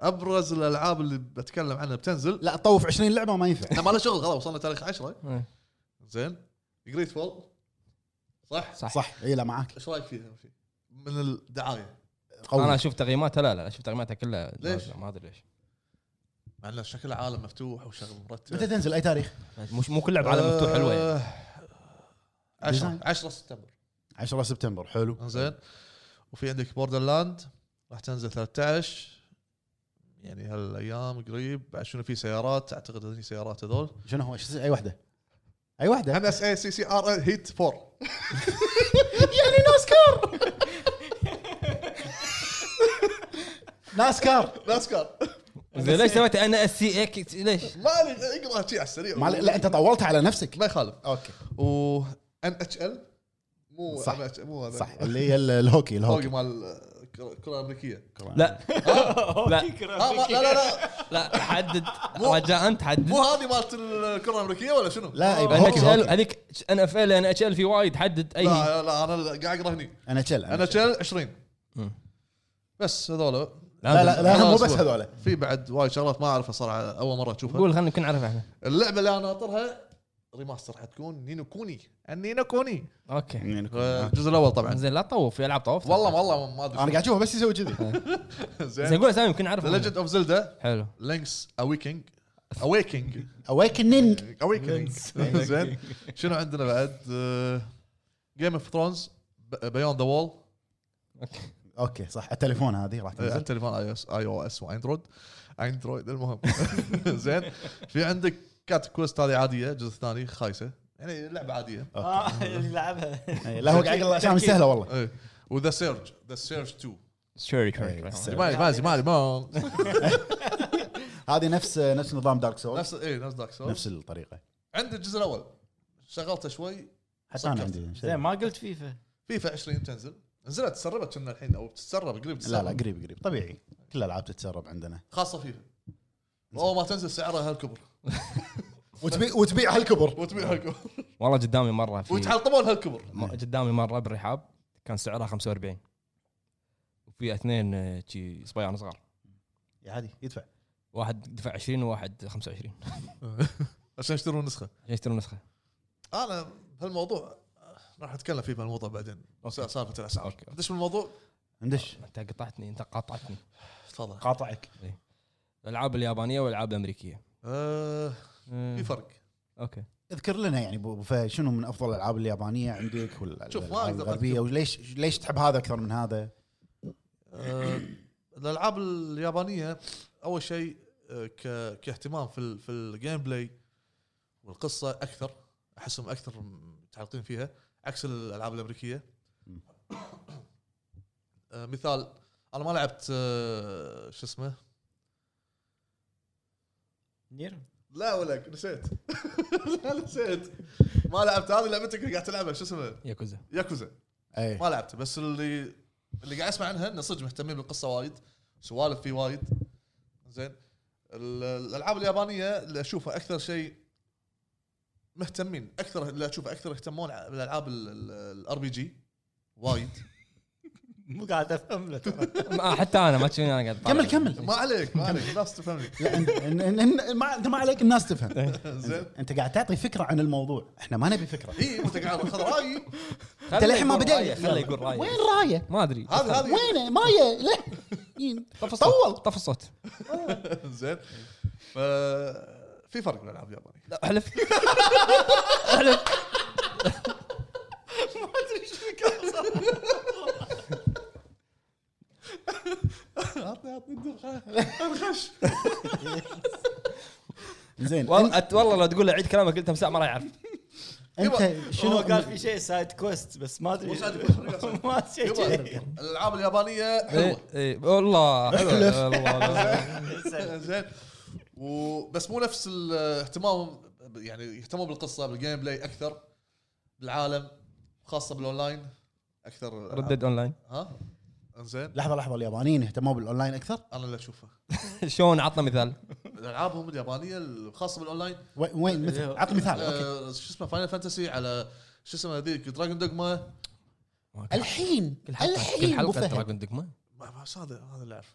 [SPEAKER 2] ابرز الالعاب اللي بتكلم عنها بتنزل
[SPEAKER 3] لا تطوف 20 لعبه وما ينفع
[SPEAKER 2] احنا ما له شغل خلاص وصلنا تاريخ 10
[SPEAKER 1] إيه.
[SPEAKER 2] زين جريت فول صح؟
[SPEAKER 1] صح
[SPEAKER 3] صح اي لا معاك
[SPEAKER 2] ايش رايك فيها؟ من الدعايه
[SPEAKER 1] انا
[SPEAKER 3] قوي
[SPEAKER 1] اشوف تقييماتها لا لا اشوف تقييماتها كلها
[SPEAKER 2] ليش؟
[SPEAKER 1] ما ادري ليش
[SPEAKER 2] مع انه شكل عالم مفتوح وشغل
[SPEAKER 3] متى
[SPEAKER 2] مرتب
[SPEAKER 3] تنزل اي تاريخ؟
[SPEAKER 1] مش مو كل لعبه عالم مفتوح حلوه
[SPEAKER 2] [LAUGHS]
[SPEAKER 1] يعني.
[SPEAKER 2] 10
[SPEAKER 3] ديزاين.
[SPEAKER 2] 10 سبتمبر
[SPEAKER 3] 10 سبتمبر حلو
[SPEAKER 2] زين وفي عندك بوردر لاند راح تنزل 13 يعني هالايام قريب بعد شنو في سيارات اعتقد هني سيارات هذول
[SPEAKER 3] شنو هو شو اسمه؟ اي واحده اي واحده
[SPEAKER 2] انا اس اي سي سي ار هيت 4
[SPEAKER 3] يعني ناسكار ناسكار
[SPEAKER 2] ناسكار
[SPEAKER 1] زين ليش سويت انا اس سي اك ليش؟
[SPEAKER 2] ما ادري اقرا شيء على السريع
[SPEAKER 3] ما لا انت طولت على نفسك
[SPEAKER 2] ما يخالف
[SPEAKER 3] اوكي
[SPEAKER 2] و ان اتش ال مو
[SPEAKER 3] صح.
[SPEAKER 2] NH مو هذا
[SPEAKER 3] صح اللي هي ال- الهوكي
[SPEAKER 2] الهوكي
[SPEAKER 3] الهوكي
[SPEAKER 2] مال الكره الامريكيه
[SPEAKER 1] لا
[SPEAKER 2] آه ما لا لا لا
[SPEAKER 1] لا حدد رجاء انت حدد
[SPEAKER 2] مو هذه مالت الكره الامريكيه ولا شنو؟
[SPEAKER 3] لا
[SPEAKER 2] آه.
[SPEAKER 3] يبقى
[SPEAKER 1] ان
[SPEAKER 3] هوكي
[SPEAKER 1] اتش ال
[SPEAKER 3] هوكي
[SPEAKER 1] هذيك ان اف ال ان اتش ال في وايد حدد
[SPEAKER 3] إيه.
[SPEAKER 1] اي هي.
[SPEAKER 2] لا لا انا قاعد اقرا هني
[SPEAKER 3] انا تشل
[SPEAKER 2] ان
[SPEAKER 3] انا
[SPEAKER 2] اتش ال 20
[SPEAKER 1] مم.
[SPEAKER 2] بس هذول
[SPEAKER 3] لا لا لا مو بس
[SPEAKER 2] أسبوع.
[SPEAKER 3] هذول
[SPEAKER 2] في بعد وايد شغلات ما اعرفها صراحه اول مره اشوفها
[SPEAKER 1] قول خلينا يمكن نعرفها احنا
[SPEAKER 2] اللعبه اللي انا ناطرها ريماستر حتكون نينو كوني النينو كوني
[SPEAKER 1] اوكي
[SPEAKER 3] يعني
[SPEAKER 2] الجزء الاول طبعا
[SPEAKER 1] زين لا تطوف في العاب طوف
[SPEAKER 2] والله والله ما
[SPEAKER 3] انا قاعد
[SPEAKER 2] ادري
[SPEAKER 3] اشوفه بس يسوي كذي
[SPEAKER 1] زين
[SPEAKER 2] زين
[SPEAKER 1] قول اسامي يمكن نعرفها
[SPEAKER 2] ليجند اوف زلدا
[SPEAKER 1] حلو
[SPEAKER 2] لينكس اويكينج اويكينج
[SPEAKER 3] اويكننج
[SPEAKER 2] اويكينج زين شنو عندنا بعد آه، جيم اوف ثرونز بيوند ذا وول
[SPEAKER 1] اوكي
[SPEAKER 3] اوكي صح التليفون هذه راح
[SPEAKER 2] على
[SPEAKER 3] تنزل
[SPEAKER 2] التليفون اي او اس اي او اس واندرويد اندرويد المهم [LAUGHS] زين في عندك كات كويست هذه عاديه الجزء الثاني خايسه يعني لعبه عاديه
[SPEAKER 4] آه، يلعبها
[SPEAKER 3] إي، إيه، لا هو قاعد يقول اسامي سهله والله
[SPEAKER 2] إيه. وذا سيرج ذا سيرج 2
[SPEAKER 1] سوري
[SPEAKER 3] إيه،
[SPEAKER 1] كوري
[SPEAKER 3] سوري.
[SPEAKER 2] مالي مالي مالي ما
[SPEAKER 3] هذه نفس نفس نظام دارك سولز
[SPEAKER 2] نفس اي نفس دارك سولز
[SPEAKER 3] نفس الطريقه
[SPEAKER 2] عندي الجزء الاول شغلته شوي
[SPEAKER 3] حتى انا
[SPEAKER 2] سكرت.
[SPEAKER 3] عندي شيء.
[SPEAKER 4] زين ما قلت فيفا
[SPEAKER 2] فيفا 20 تنزل نزلت تسربت كنا الحين او بتتسرب قريب
[SPEAKER 3] لا
[SPEAKER 2] تتسرب
[SPEAKER 3] لا قريب قريب طبيعي كل الالعاب تتسرب عندنا
[SPEAKER 2] خاصه فيفا اول ما تنزل سعرها هالكبر
[SPEAKER 3] وتبيع وتبيع هالكبر
[SPEAKER 2] وتبيع هالكبر
[SPEAKER 3] نعم.
[SPEAKER 1] والله قدامي مره في
[SPEAKER 2] ويتحلطمون هالكبر
[SPEAKER 1] م- قدامي مره بالرحاب كان سعرها 45 وفي اثنين آه، شي صبيان صغار
[SPEAKER 3] عادي يدفع
[SPEAKER 1] واحد دفع 20 وواحد 25
[SPEAKER 2] عشان يشترون نسخه
[SPEAKER 1] عشان يشترون نسخه
[SPEAKER 2] انا بهالموضوع راح اتكلم فيه بهالموضوع بعدين
[SPEAKER 1] أوكي.
[SPEAKER 2] سالفه الاسعار
[SPEAKER 1] أوكي.
[SPEAKER 2] ندش بالموضوع
[SPEAKER 3] ندش
[SPEAKER 1] انت قطعتني انت قاطعتني
[SPEAKER 2] تفضل
[SPEAKER 3] قاطعك
[SPEAKER 1] الالعاب اليابانيه والالعاب الامريكيه
[SPEAKER 2] آه،
[SPEAKER 1] آه،
[SPEAKER 2] في فرق
[SPEAKER 1] اوكي
[SPEAKER 3] اذكر لنا يعني أبو فهد، شنو من افضل الالعاب اليابانيه عندك ولا
[SPEAKER 2] شوف، ما
[SPEAKER 3] الألعاب
[SPEAKER 2] أقدر
[SPEAKER 3] الغربيه
[SPEAKER 2] أذكر.
[SPEAKER 3] وليش ليش تحب هذا اكثر من هذا؟
[SPEAKER 2] آه، الالعاب اليابانيه اول شيء آه، ك- كاهتمام في ال- في الجيم بلاي والقصه اكثر احسهم اكثر متعلقين فيها عكس الالعاب الامريكيه
[SPEAKER 3] مم.
[SPEAKER 2] آه، مثال انا ما لعبت آه، شو اسمه
[SPEAKER 4] نير
[SPEAKER 2] لا ولك نسيت [LAUGHS] لا نسيت ما لعبت هذه لعبتك اللي قاعد تلعبها شو اسمه
[SPEAKER 1] ياكوزا
[SPEAKER 2] ياكوزا
[SPEAKER 3] اي
[SPEAKER 2] ما لعبته بس اللي اللي قاعد اسمع عنها انه صدق مهتمين بالقصه وايد سوالف فيه وايد زين ال- الالعاب اليابانيه اللي اشوفها اكثر شيء مهتمين اكثر اللي اشوفها اكثر يهتمون ع- بالالعاب الار بي جي وايد
[SPEAKER 4] مو قاعد افهم له ترى.
[SPEAKER 1] ما- حتى انا ما تشوفني انا قاعد أطالع.
[SPEAKER 3] كمل كمل
[SPEAKER 2] ما عليك ما عليك الناس تفهمني
[SPEAKER 3] لا إن- إن- إن- إن- ما انت ما عليك الناس تفهم
[SPEAKER 2] زين
[SPEAKER 3] انت قاعد تعطي فكره عن الموضوع احنا ما نبي فكره
[SPEAKER 2] اي انت قاعد خذ رايي
[SPEAKER 1] خله
[SPEAKER 3] أنت للحين ما
[SPEAKER 1] يقول
[SPEAKER 3] بدأنا.
[SPEAKER 1] رأيه، خله يقول
[SPEAKER 3] يلا.
[SPEAKER 1] رايه
[SPEAKER 3] رايه؟
[SPEAKER 1] ما ادري
[SPEAKER 2] هذا هذا
[SPEAKER 3] وينه؟ مايه لا
[SPEAKER 1] طف
[SPEAKER 3] طول.
[SPEAKER 1] الصوت طف الصوت
[SPEAKER 2] زين ففي فرق بالالعاب اليابانيه
[SPEAKER 1] لا، احلف
[SPEAKER 2] عطني عطني الدرخه
[SPEAKER 3] زين
[SPEAKER 1] والله أت- والله لو تقول له عيد كلامك قلت ساعه ما راح يعرف
[SPEAKER 2] يبا،
[SPEAKER 4] انت شنو
[SPEAKER 2] هو قال
[SPEAKER 4] في شيء سايد كويست بس ما ادري
[SPEAKER 2] مو side quest.
[SPEAKER 4] [LAUGHS] ما شيء
[SPEAKER 2] يبا، الالعاب اليابانيه
[SPEAKER 1] إيه،
[SPEAKER 2] حلوه
[SPEAKER 1] إيه، والله
[SPEAKER 3] احلف.
[SPEAKER 1] حلو، والله.
[SPEAKER 2] [LAUGHS] زين وبس مو نفس الاهتمام يعني يهتموا بالقصه بالجيم بلاي اكثر بالعالم خاصه بالاونلاين اكثر
[SPEAKER 1] ردد اونلاين
[SPEAKER 2] ها انزين
[SPEAKER 3] لحظه لحظه اليابانيين اهتموا بالاونلاين اكثر
[SPEAKER 2] انا اللي اشوفه
[SPEAKER 1] شلون عطنا مثال
[SPEAKER 2] العابهم اليابانيه الخاصه بالاونلاين
[SPEAKER 3] وين وين مثل عط مثال اوكي
[SPEAKER 2] آه، شو اسمه فاينل فانتسي على شو اسمه هذيك دراجون دوجما
[SPEAKER 3] الحين
[SPEAKER 1] كل حلقه كل
[SPEAKER 3] الحين أبو
[SPEAKER 1] حلقه
[SPEAKER 3] فهد.
[SPEAKER 1] دراجون دوجما
[SPEAKER 2] ما ما بس هذا هذا اللي اعرفه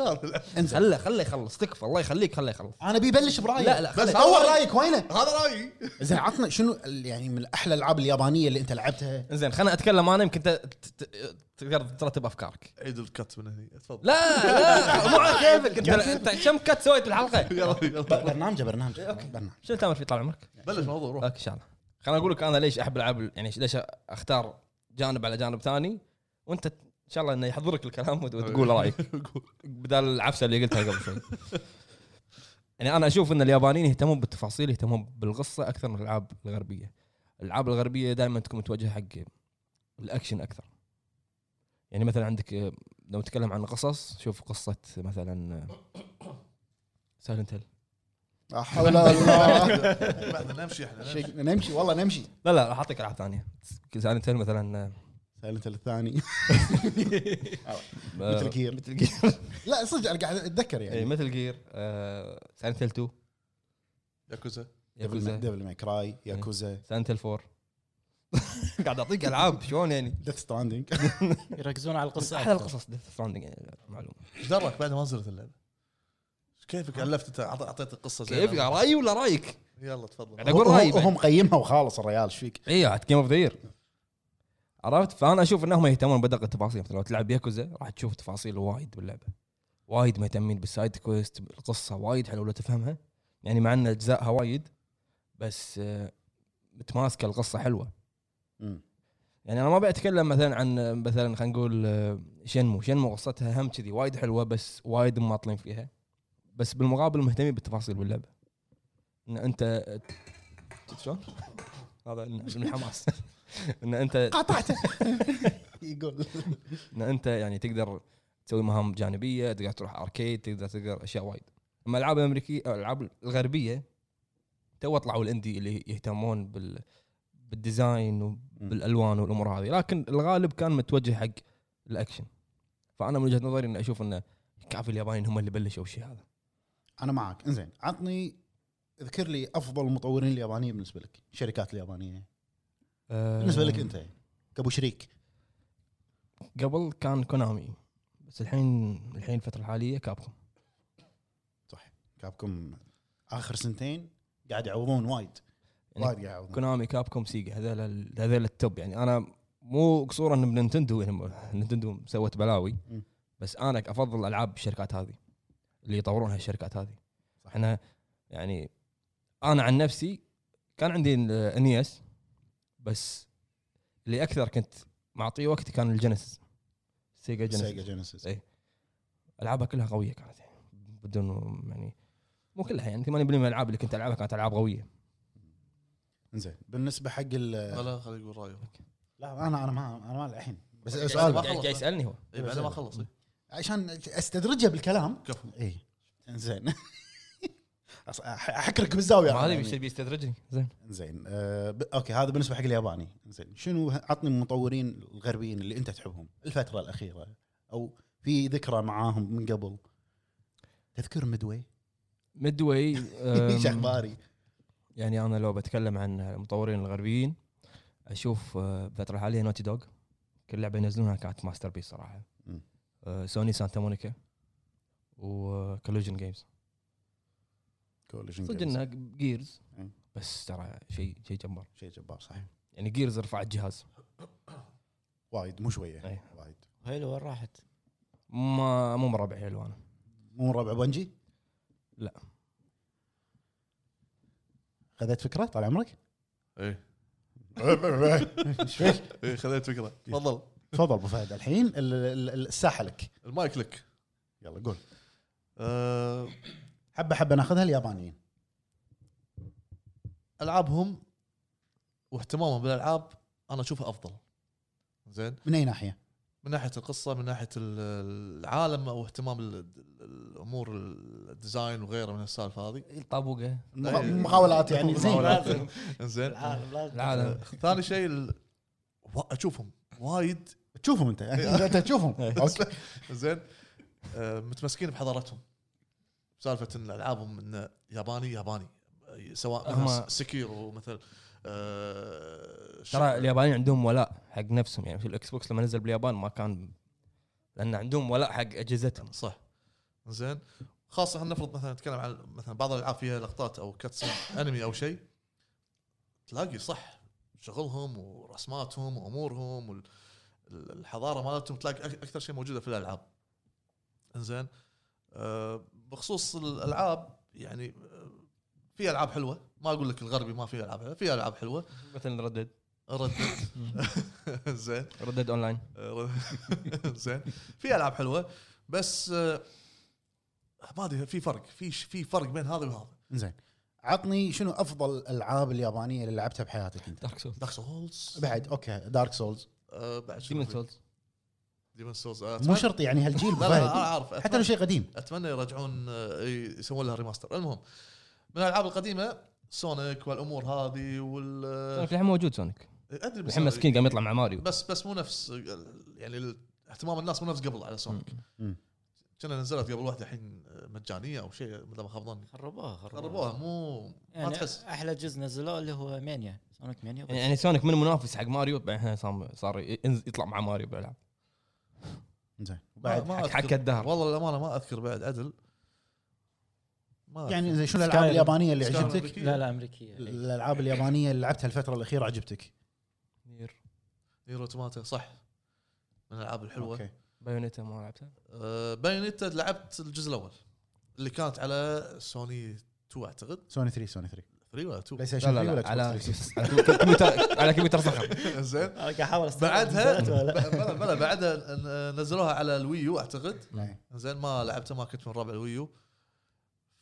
[SPEAKER 2] هذا اللي أعرفه.
[SPEAKER 3] انزل
[SPEAKER 1] خله خله يخلص تكفى الله يخليك خله يخلص طيب،
[SPEAKER 3] انا بيبلش برايي
[SPEAKER 1] لا، لا،
[SPEAKER 3] بس
[SPEAKER 2] خلي-
[SPEAKER 3] اول رايك وينه؟
[SPEAKER 2] هذا رايي
[SPEAKER 3] زين عطنا شنو ال- يعني من احلى الالعاب اليابانيه اللي انت لعبتها؟
[SPEAKER 1] زين خلنا اتكلم انا يمكن ت- ت- ت- تقدر ترتب افكارك
[SPEAKER 2] عيد الكت من هني تفضل
[SPEAKER 1] لا لا مو على كيفك انت انت كم كت سويت بالحلقه؟
[SPEAKER 2] يلا، يلا.
[SPEAKER 3] برنامجه برنامجه برنامج
[SPEAKER 1] شنو تامر فيه طال عمرك؟
[SPEAKER 2] بلش موضوع روح
[SPEAKER 1] اوكي ان شاء الله خليني اقول لك انا ليش احب العاب ال- يعني ليش اختار جانب على جانب ثاني وانت ان شاء الله انه يحضرك الكلام وت- وتقول رايك بدال العفسه اللي قلتها قبل شوي يعني انا اشوف ان اليابانيين يهتمون بالتفاصيل يهتمون بالقصه اكثر من الالعاب الغربيه الالعاب الغربيه دائما تكون متوجهه حق الاكشن اكثر يعني مثلا عندك آه، لو نتكلم عن قصص شوف قصه مثلا [COUGHS] سايلنت هيل
[SPEAKER 3] لا حول الله
[SPEAKER 2] بعد نمشي احنا نمشي.
[SPEAKER 3] شيء- نمشي والله نمشي
[SPEAKER 1] لا لا راح اعطيك العاب ثانيه سايلنت هيل مثلا آه،
[SPEAKER 3] سايلنت الثاني
[SPEAKER 1] آه، إيه،
[SPEAKER 3] مثل جير
[SPEAKER 1] مثل جير
[SPEAKER 3] لا صدق انا قاعد اتذكر
[SPEAKER 1] اي
[SPEAKER 3] [LAUGHS] يعني
[SPEAKER 1] مثل جير سايلنت هيل 2
[SPEAKER 2] ياكوزا
[SPEAKER 1] ياكوزا
[SPEAKER 3] ديفل ماي كراي ياكوزا
[SPEAKER 1] سايلنت هيل 4 [LAUGHS] قاعد اعطيك العاب شلون يعني
[SPEAKER 3] ديث ستراندنج
[SPEAKER 4] يركزون على
[SPEAKER 1] بس
[SPEAKER 4] القصه
[SPEAKER 1] احلى القصص ديث ستراندنج معلومه
[SPEAKER 2] ايش درك بعد ما نزلت اللعبه؟ إيش كيفك الفت انت أعط- اعطيت القصه زي
[SPEAKER 1] كيف
[SPEAKER 2] ما-
[SPEAKER 1] رايي ولا رايك؟
[SPEAKER 2] يلا تفضل
[SPEAKER 1] قاعد اقول
[SPEAKER 3] [LAUGHS]
[SPEAKER 1] رايي
[SPEAKER 3] يعني هم مقيمها وخالص الريال ايش فيك؟
[SPEAKER 1] اي جيم اوف ذا يير عرفت فانا اشوف انهم يهتمون بدقه التفاصيل مثلا لو تلعب ياكوزا راح تشوف تفاصيل وايد باللعبه وايد مهتمين بالسايد كويست القصه وايد حلوه لو تفهمها يعني مع ان اجزائها وايد بس آه، متماسكه القصه حلوه
[SPEAKER 3] مم.
[SPEAKER 1] يعني انا ما بتكلم مثلا عن مثلا خلينا نقول آه، شنمو شنمو قصتها هم كذي وايد حلوه بس وايد مماطلين فيها بس بالمقابل مهتمين بالتفاصيل باللعبه ان انت شفت شلون؟ هذا إن- من [LAUGHS] الحماس ان انت
[SPEAKER 3] قاطعته [LAUGHS] يقول
[SPEAKER 1] ان انت يعني تقدر تسوي مهام جانبيه تقدر تروح اركيد تقدر تقدر اشياء وايد اما الالعاب الامريكيه او الالعاب الغربيه تو طلعوا الاندي اللي يهتمون بال بالديزاين وب- بالالوان والامور هذه لكن الغالب كان متوجه حق الاكشن فانا من وجهه نظري اني اشوف انه كافي اليابانيين هم اللي بلشوا الشيء هذا
[SPEAKER 3] انا معك انزين عطني اذكر لي افضل المطورين اليابانيين بالنسبه لك الشركات اليابانيه بالنسبه لك انت كابو شريك
[SPEAKER 1] آه، قبل كان كونامي بس الحين الحين الفتره الحاليه كابكم
[SPEAKER 3] كابكم اخر سنتين قاعد يعوضون وايد
[SPEAKER 1] يعني
[SPEAKER 3] وايد قاعد يعوضون
[SPEAKER 1] كونامي كابكوم سيجا هذول ال- هذول التوب يعني انا مو قصورا بننتندو يعني م- نينتندو سوت بلاوي
[SPEAKER 3] مم.
[SPEAKER 1] بس انا افضل العاب الشركات هذه اللي يطورونها الشركات هذه احنا يعني انا عن نفسي كان عندي انيس بس اللي اكثر كنت معطيه وقتي كان الجينيسيس سيجا
[SPEAKER 3] سيجا
[SPEAKER 1] جينيسيس
[SPEAKER 3] جينيسيس
[SPEAKER 1] إيه. العابها كلها قويه كانت يعني بدون يعني مو كلها يعني 80% من الالعاب اللي كنت العبها كانت العاب قويه
[SPEAKER 3] انزين بالنسبه حق ال
[SPEAKER 2] لا خليه يقول رايه
[SPEAKER 3] لا انا انا ما انا ما الحين بس
[SPEAKER 2] يعني
[SPEAKER 3] إيه، سؤال
[SPEAKER 2] ما-
[SPEAKER 1] قاعد قاعد يسالني هو
[SPEAKER 2] اي بعد إيه، ما خلص إي.
[SPEAKER 3] عشان استدرجها بالكلام
[SPEAKER 2] كفو
[SPEAKER 3] اي انزين [LAUGHS] أص- أح- احكرك بالزاويه
[SPEAKER 1] ما
[SPEAKER 3] أنا
[SPEAKER 1] ادري
[SPEAKER 3] يعني.
[SPEAKER 1] ايش اللي بيستدرجني زين
[SPEAKER 3] زين آه ب- اوكي هذا بالنسبه حق الياباني زين شنو ه- عطني المطورين الغربيين اللي انت تحبهم الفتره الاخيره او في ذكرى معاهم من قبل تذكر [LAUGHS] مدوي
[SPEAKER 1] ميدوي
[SPEAKER 3] [LAUGHS] ايش
[SPEAKER 1] أم،
[SPEAKER 3] اخباري
[SPEAKER 1] يعني انا لو بتكلم عن المطورين الغربيين اشوف أه، الفتره الحاليه نوتي دوغ كل لعبه ينزلونها كانت ماستر بيس صراحه
[SPEAKER 3] مم.
[SPEAKER 1] أه، سوني سانتا مونيكا وكولوجن جيمز صدق انها جيرز
[SPEAKER 3] مم.
[SPEAKER 1] بس ترى شيء شيء جبار
[SPEAKER 3] شيء جبار صحيح
[SPEAKER 1] يعني جيرز رفعت جهاز
[SPEAKER 3] وايد مو شويه
[SPEAKER 1] أي.
[SPEAKER 3] وايد
[SPEAKER 4] حلو وين راحت؟
[SPEAKER 1] ما مو مربع حلو انا
[SPEAKER 3] مو من ربع بنجي
[SPEAKER 1] لا.
[SPEAKER 3] خذت فكره
[SPEAKER 1] [LAUGHS]
[SPEAKER 3] طال عمرك
[SPEAKER 2] اي
[SPEAKER 3] إيش فيك؟
[SPEAKER 2] اي خذيت فكره تفضل
[SPEAKER 3] تفضل ابو فهد الحين ال- ال- ال- الساحه لك
[SPEAKER 2] المايك لك
[SPEAKER 3] يلا قول
[SPEAKER 2] آه،
[SPEAKER 3] حبه حبه ناخذها اليابانيين
[SPEAKER 2] العابهم واهتمامهم بالالعاب انا اشوفها افضل زين
[SPEAKER 3] من اي ناحيه؟
[SPEAKER 2] من ناحيه القصه من ناحيه ال- العالم او اهتمام ال- ال- الامور الديزاين وغيره من السالفه هذه
[SPEAKER 1] الطابوقه
[SPEAKER 3] المغا- المقاولات يعني زين
[SPEAKER 2] المقاولات.
[SPEAKER 4] لازم
[SPEAKER 2] زين آه،
[SPEAKER 4] العالم لازم
[SPEAKER 3] آه،
[SPEAKER 1] العالم
[SPEAKER 2] ثاني شيء ال- وا- اشوفهم وايد
[SPEAKER 3] تشوفهم [LAUGHS] انت انت تشوفهم
[SPEAKER 2] [LAUGHS] إيه.
[SPEAKER 3] اوكي
[SPEAKER 2] زين آه، متمسكين بحضارتهم سالفه ان العابهم انه ياباني ياباني سواء
[SPEAKER 1] هم-
[SPEAKER 2] مثل سكيرو مثل آه،
[SPEAKER 1] ترى اليابانيين عندهم ولاء حق نفسهم يعني في الاكس بوكس لما نزل باليابان ما كان لان عندهم ولاء حق اجهزتهم
[SPEAKER 2] صح زين خاصه احنا نفرض مثلا نتكلم عن مثلا بعض الالعاب فيها لقطات او كاتس انمي او شيء تلاقي صح شغلهم ورسماتهم وامورهم وال- ال- الحضاره مالتهم تلاقي أك- اكثر شيء موجوده في الالعاب زين أه بخصوص الالعاب يعني آه، في العاب حلوه ما اقول لك الغربي ما في العاب حلوه في العاب حلوه
[SPEAKER 1] مثلا ردد
[SPEAKER 2] ردت [LAUGHS] زين
[SPEAKER 1] ردد اونلاين
[SPEAKER 2] آه، [LAUGHS] زين في العاب حلوه بس آه، ما ادري في فرق في ش- في فرق بين هذا وهذا
[SPEAKER 3] زين عطني شنو افضل الالعاب اليابانيه اللي لعبتها بحياتك انت؟
[SPEAKER 1] دارك سولز
[SPEAKER 2] دارك سولز
[SPEAKER 3] بعد اوكي دارك سولز
[SPEAKER 2] آه، بعد
[SPEAKER 1] ديمون سولز
[SPEAKER 2] ديمون سولز
[SPEAKER 3] مو شرط يعني هالجيل
[SPEAKER 2] آه، لا لا انا
[SPEAKER 3] فهد.
[SPEAKER 2] عارف
[SPEAKER 3] حتى لو
[SPEAKER 2] أتمنى,
[SPEAKER 3] شيء قديم
[SPEAKER 2] اتمنى يرجعون آه، ي- يسوون لها ريماستر المهم من الالعاب القديمه سونيك والامور هذه وال آه،
[SPEAKER 1] سونيك الحين موجود سونيك
[SPEAKER 2] ادري بس
[SPEAKER 1] الحين مسكين قام يطلع مع ماريو
[SPEAKER 2] بس بس مو نفس آه، يعني ال- اهتمام الناس مو نفس قبل على سونيك
[SPEAKER 3] مم.
[SPEAKER 2] كنا نزلت قبل واحده الحين آه، مجانيه او شيء اذا ما خاب ظني
[SPEAKER 4] خربوها
[SPEAKER 2] خربوها مو ما
[SPEAKER 4] يعني
[SPEAKER 2] تحس
[SPEAKER 4] احلى جزء نزلوه اللي هو مانيا سونيك مانيا
[SPEAKER 1] يعني يعني سونيك من منافس حق ماريو بعدين الحين صار- صار ينز- يطلع مع ماريو بالالعاب
[SPEAKER 3] زين
[SPEAKER 2] بعد
[SPEAKER 1] حق- حق الدهر.
[SPEAKER 2] والله الامانه ما اذكر بعد عدل ما
[SPEAKER 3] يعني
[SPEAKER 2] أذكر.
[SPEAKER 3] زين شنو الالعاب
[SPEAKER 4] Skyrim.
[SPEAKER 3] اليابانيه اللي
[SPEAKER 2] آه. Skyrim.
[SPEAKER 3] عجبتك؟
[SPEAKER 4] لا لا امريكيه إي.
[SPEAKER 3] الالعاب اليابانيه اللي لعبتها الفتره الاخيره عجبتك؟
[SPEAKER 2] نير اوتوماتا صح من الالعاب الحلوه
[SPEAKER 3] اوكي
[SPEAKER 1] بايونيتا ما لعبتها
[SPEAKER 2] آه بايونيتا لعبت الجزء الاول اللي كانت على سوني 2 اعتقد
[SPEAKER 3] سوني 3 سوني 3
[SPEAKER 2] 3 ولا
[SPEAKER 3] [LAUGHS] بلاي
[SPEAKER 2] 2
[SPEAKER 1] لا
[SPEAKER 3] ستيشن
[SPEAKER 1] لا
[SPEAKER 3] 3 ولا
[SPEAKER 1] لا على
[SPEAKER 3] Xbox 360.
[SPEAKER 1] على كمبيوتر على كمبيوتر صخر
[SPEAKER 2] زين
[SPEAKER 4] انا قاعد احاول استوعب
[SPEAKER 3] [LAUGHS]
[SPEAKER 2] بعدها
[SPEAKER 4] نزلت ولا لا.
[SPEAKER 2] بلا بلا بعدها آه، نزلوها على الويو اعتقد
[SPEAKER 3] إيه.
[SPEAKER 2] زين ما لعبته ما كنت من ربع الويو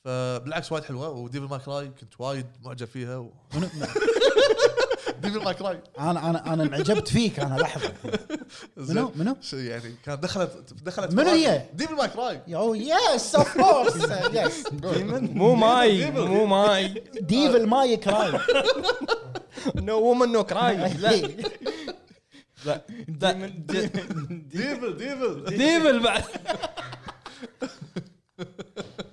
[SPEAKER 2] فبالعكس وايد حلوه وديفل ماي كراي كنت وايد معجب فيها و... [LAUGHS] ديفل ماي كراي
[SPEAKER 3] انا انا انا انعجبت فيك انا لحظه منو منو؟
[SPEAKER 2] شو يعني كان دخلت دخلت
[SPEAKER 3] منو
[SPEAKER 2] مراحل-
[SPEAKER 3] هي؟
[SPEAKER 2] ديفل ماي كراي
[SPEAKER 3] يو يس اوف كورس يس
[SPEAKER 1] مو ماي مو ماي
[SPEAKER 3] ديفل ماي كراي
[SPEAKER 1] نو وومن نو
[SPEAKER 2] [LAUGHS]
[SPEAKER 1] كراي لا
[SPEAKER 4] [LAUGHS]
[SPEAKER 1] لا لا.
[SPEAKER 2] ديفل ديفل
[SPEAKER 1] ديفل بعد